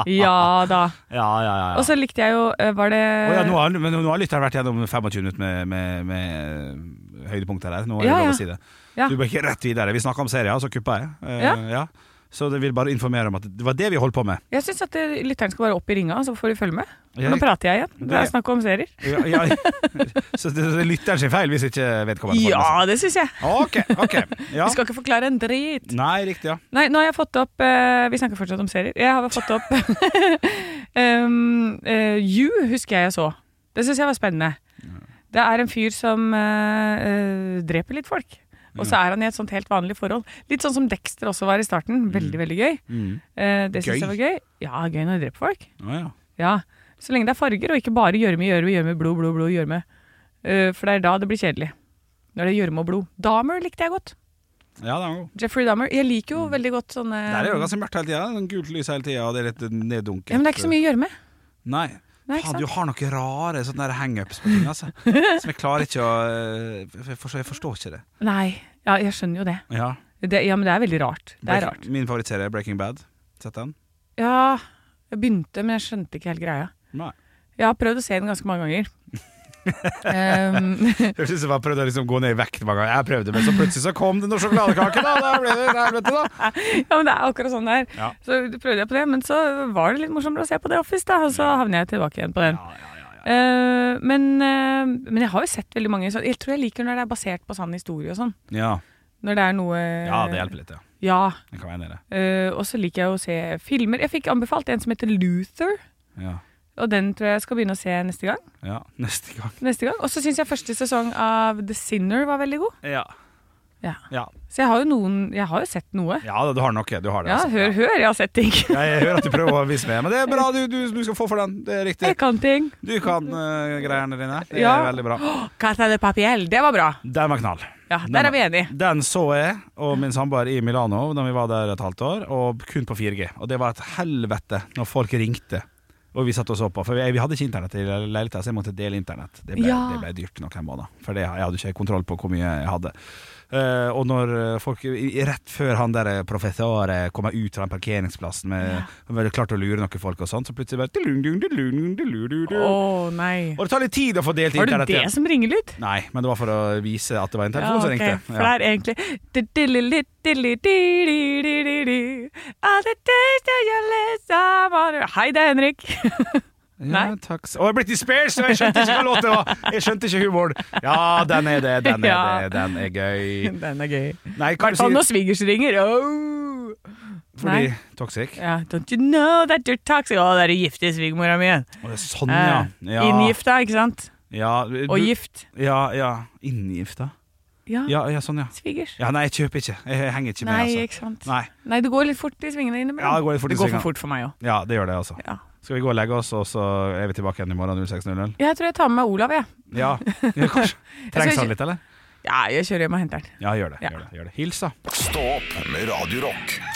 [SPEAKER 3] Ja da.
[SPEAKER 2] Ja, ja, ja.
[SPEAKER 3] Og så likte jeg jo eh, Var det
[SPEAKER 2] Å ja, nå, har, men nå har lytteren vært gjennom 25 minutter med, med, med eh, høydepunkter her. Nå er det
[SPEAKER 3] Ja,
[SPEAKER 2] lov
[SPEAKER 3] ja.
[SPEAKER 2] å si det.
[SPEAKER 3] Ja.
[SPEAKER 2] Du bør ikke rett videre. Vi snakka om serier, så kuppa jeg. Eh,
[SPEAKER 3] Ja.
[SPEAKER 2] ja. Så det vil bare informere om at det var det vi holdt på med.
[SPEAKER 3] Jeg syns at eh, lytteren skal bare opp i ringa, så får de følge med.
[SPEAKER 2] Ja,
[SPEAKER 3] Nå prater jeg igjen. Det
[SPEAKER 2] Ja.
[SPEAKER 3] er snakk om serier.
[SPEAKER 2] Ja, ja. Så det det er lytteren sin feil hvis ikke vedkommende får
[SPEAKER 3] Ja, det syns jeg.
[SPEAKER 2] det med seg. Ok, ok. altså. Ja.
[SPEAKER 3] Vi skal ikke forklare en drit.
[SPEAKER 2] Nei, riktig, ja.
[SPEAKER 3] Nei, nå har jeg fått opp eh, Vi snakker fortsatt om serier. Jeg har fått opp um, eh, You, husker jeg jeg så. Det syns jeg var spennende. Det er en fyr som eh, eh, dreper litt folk. Og så er han i et sånt helt vanlig forhold. Litt sånn som Dexter også var i starten. Veldig, veldig gøy.
[SPEAKER 2] Mm.
[SPEAKER 3] Eh, det
[SPEAKER 2] Gøy?
[SPEAKER 3] syns jeg var gøy. Ja, gøy når de dreper folk.
[SPEAKER 2] Å ja.
[SPEAKER 3] Ja. Så lenge det er farger, og ikke bare gjørme, gjørme, gjørme, blod, blod, blod, gjørme. Eh, for det er da det blir kjedelig. Når det er gjørme og blod. Dahmer likte jeg godt.
[SPEAKER 2] ja, det er jo
[SPEAKER 3] Jeffrey Dahmer. Jeg liker jo veldig godt sånne
[SPEAKER 2] Mm. Der er det jo ganske mørkt hele tida. Sånn Gult lys hele tida, og det er litt neddunket.
[SPEAKER 3] Ja, men det er ikke så mye gjørme.
[SPEAKER 2] Nei.
[SPEAKER 3] Nei,
[SPEAKER 2] Faen,
[SPEAKER 3] ikke
[SPEAKER 2] du
[SPEAKER 3] sant?
[SPEAKER 2] har noen rare sånne der hangups på ting, altså. Som jeg klarer ikke å eh, Jeg forstår, jeg forstår ikke det.
[SPEAKER 3] Nei. Ja, jeg skjønner jo det.
[SPEAKER 2] Ja.
[SPEAKER 3] det. Ja, men det er veldig rart. Det er
[SPEAKER 2] Breaking-
[SPEAKER 3] rart.
[SPEAKER 2] Min favorittserie er Breaking Bad. Sett den?
[SPEAKER 3] Ja, jeg begynte, men jeg skjønte ikke helt greia.
[SPEAKER 2] Nei.
[SPEAKER 3] Jeg har prøvd å se den ganske mange ganger. um,
[SPEAKER 2] Jeg synes jeg bare prøvde å liksom gå ned i vekt mange ganger. Jeg prøvde, men så plutselig så kom det noen sjokoladekake, da! Der ble det helvete, da!
[SPEAKER 3] Ja, men det er akkurat sånn det er.
[SPEAKER 2] Ja.
[SPEAKER 3] Så prøvde jeg på det, men så var det litt morsommere å se på The Office, da, og så havner jeg tilbake igjen på den. Eh, men, eh, men jeg har jo sett veldig mange så Jeg tror jeg liker når det er basert på sann historie og sånn.
[SPEAKER 2] Ja.
[SPEAKER 3] Når det er noe
[SPEAKER 2] ja, det hjelper litt, ja.
[SPEAKER 3] Ja.
[SPEAKER 2] Jeg kan være enig i det.
[SPEAKER 3] eh, og så liker jeg å se filmer. Jeg fikk anbefalt en som heter Luther,
[SPEAKER 2] Ja.
[SPEAKER 3] og den tror jeg jeg skal begynne å se neste gang.
[SPEAKER 2] ja. Neste gang.
[SPEAKER 3] Neste gang. Og så syns jeg første sesong av The Sinner var veldig god.
[SPEAKER 2] Ja.
[SPEAKER 3] Ja.
[SPEAKER 2] Ja,
[SPEAKER 3] Så jeg har jo noen Jeg har jo sett noe.
[SPEAKER 2] ja da, du har noe. Du har det,
[SPEAKER 3] Ja,
[SPEAKER 2] altså.
[SPEAKER 3] hør, hør, jeg har sett ting.
[SPEAKER 2] Ja, Jeg hører at du prøver å vise meg, men det er bra. Du, du, du skal få for den. Det er riktig.
[SPEAKER 3] Jeg kan ting.
[SPEAKER 2] Du kan eh, greiene dine. Det er
[SPEAKER 3] Ja.
[SPEAKER 2] veldig bra.
[SPEAKER 3] Casa de Papiel, det var bra.
[SPEAKER 2] Den var knall.
[SPEAKER 3] Ja, Der er vi enige.
[SPEAKER 2] Den så jeg og min samboer i Milano da vi var der et halvt år, og kun på 4G. Og det var et helvete når folk ringte og vi satt og så på. For vi, vi hadde ikke internett i leiligheten, så jeg måtte dele internett. Det ble,
[SPEAKER 3] Ja.
[SPEAKER 2] det ble dyrt noen måneder, for det, jeg hadde ikke kontroll på hvor mye jeg hadde. Eh, og når eh, folk i- Rett før han der eh, professoren kommer ut fra den parkeringsplassen med ja. klarte å lure noen folk og sånn, så plutselig bare dilung, dilung, dilung, dilung, dilung,
[SPEAKER 3] Å
[SPEAKER 2] dilung.
[SPEAKER 3] nei.
[SPEAKER 2] Og det tar litt tid å få delt
[SPEAKER 3] Var det
[SPEAKER 2] internett
[SPEAKER 3] det
[SPEAKER 2] igjen.
[SPEAKER 3] som ringer litt?
[SPEAKER 2] Nei, men det var for å vise at det var en telefon som
[SPEAKER 3] ok,
[SPEAKER 2] ringte.
[SPEAKER 3] For det er egentlig Di-di-li-di-li-di-di-di-di. All the taste of your lips are water. Hei, det er Henrik.
[SPEAKER 2] Ja,
[SPEAKER 3] Nei.
[SPEAKER 2] takk. s- Å, jeg er Britney Spears, og jeg skjønte ikke hva låten var! Jeg skjønte ikke humoren. Ja, den er det, den er
[SPEAKER 3] Ja.
[SPEAKER 2] det, den er gøy.
[SPEAKER 3] Den er gøy.
[SPEAKER 2] Nei, kan du
[SPEAKER 3] Sånn
[SPEAKER 2] si
[SPEAKER 3] når svigers ringer. Oh.
[SPEAKER 2] fordi Toxic?
[SPEAKER 3] Ja, Don't you know that you're toxic? Å, det er det giftige svigermora mi.
[SPEAKER 2] Å, det er sånn, ja. ja.
[SPEAKER 3] Inngifta, ikke sant?
[SPEAKER 2] Ja, du-
[SPEAKER 3] Eh, Og gift.
[SPEAKER 2] Ja, ja. Inngifta?
[SPEAKER 3] Ja.
[SPEAKER 2] Ja, ja, sånn, ja.
[SPEAKER 3] Svigers.
[SPEAKER 2] Ja, Nei, jeg kjøper ikke. Jeg henger ikke med,
[SPEAKER 3] Nei,
[SPEAKER 2] altså.
[SPEAKER 3] ikke sant.
[SPEAKER 2] Nei.
[SPEAKER 3] Nei, det går litt fort i svingene
[SPEAKER 2] Ja, det
[SPEAKER 3] innimellom.
[SPEAKER 2] går litt fort i
[SPEAKER 3] Det går
[SPEAKER 2] svingene.
[SPEAKER 3] for fort for meg òg.
[SPEAKER 2] Ja, det gjør det, altså.
[SPEAKER 3] Ja.
[SPEAKER 2] Skal vi gå og legge oss, og så er vi tilbake igjen i morgen 06.00?
[SPEAKER 3] Jeg tror jeg tar med meg Olav, jeg.
[SPEAKER 2] Ja, ja kanskje. Trengs han
[SPEAKER 3] ikke-
[SPEAKER 2] litt, eller?
[SPEAKER 3] Ja, jeg kjører hjem og henter den.
[SPEAKER 2] Ja, gjør det.
[SPEAKER 3] Ja.
[SPEAKER 2] Gjør det, gjør det. Hils, da.
[SPEAKER 1] Stå opp med Radio Rock.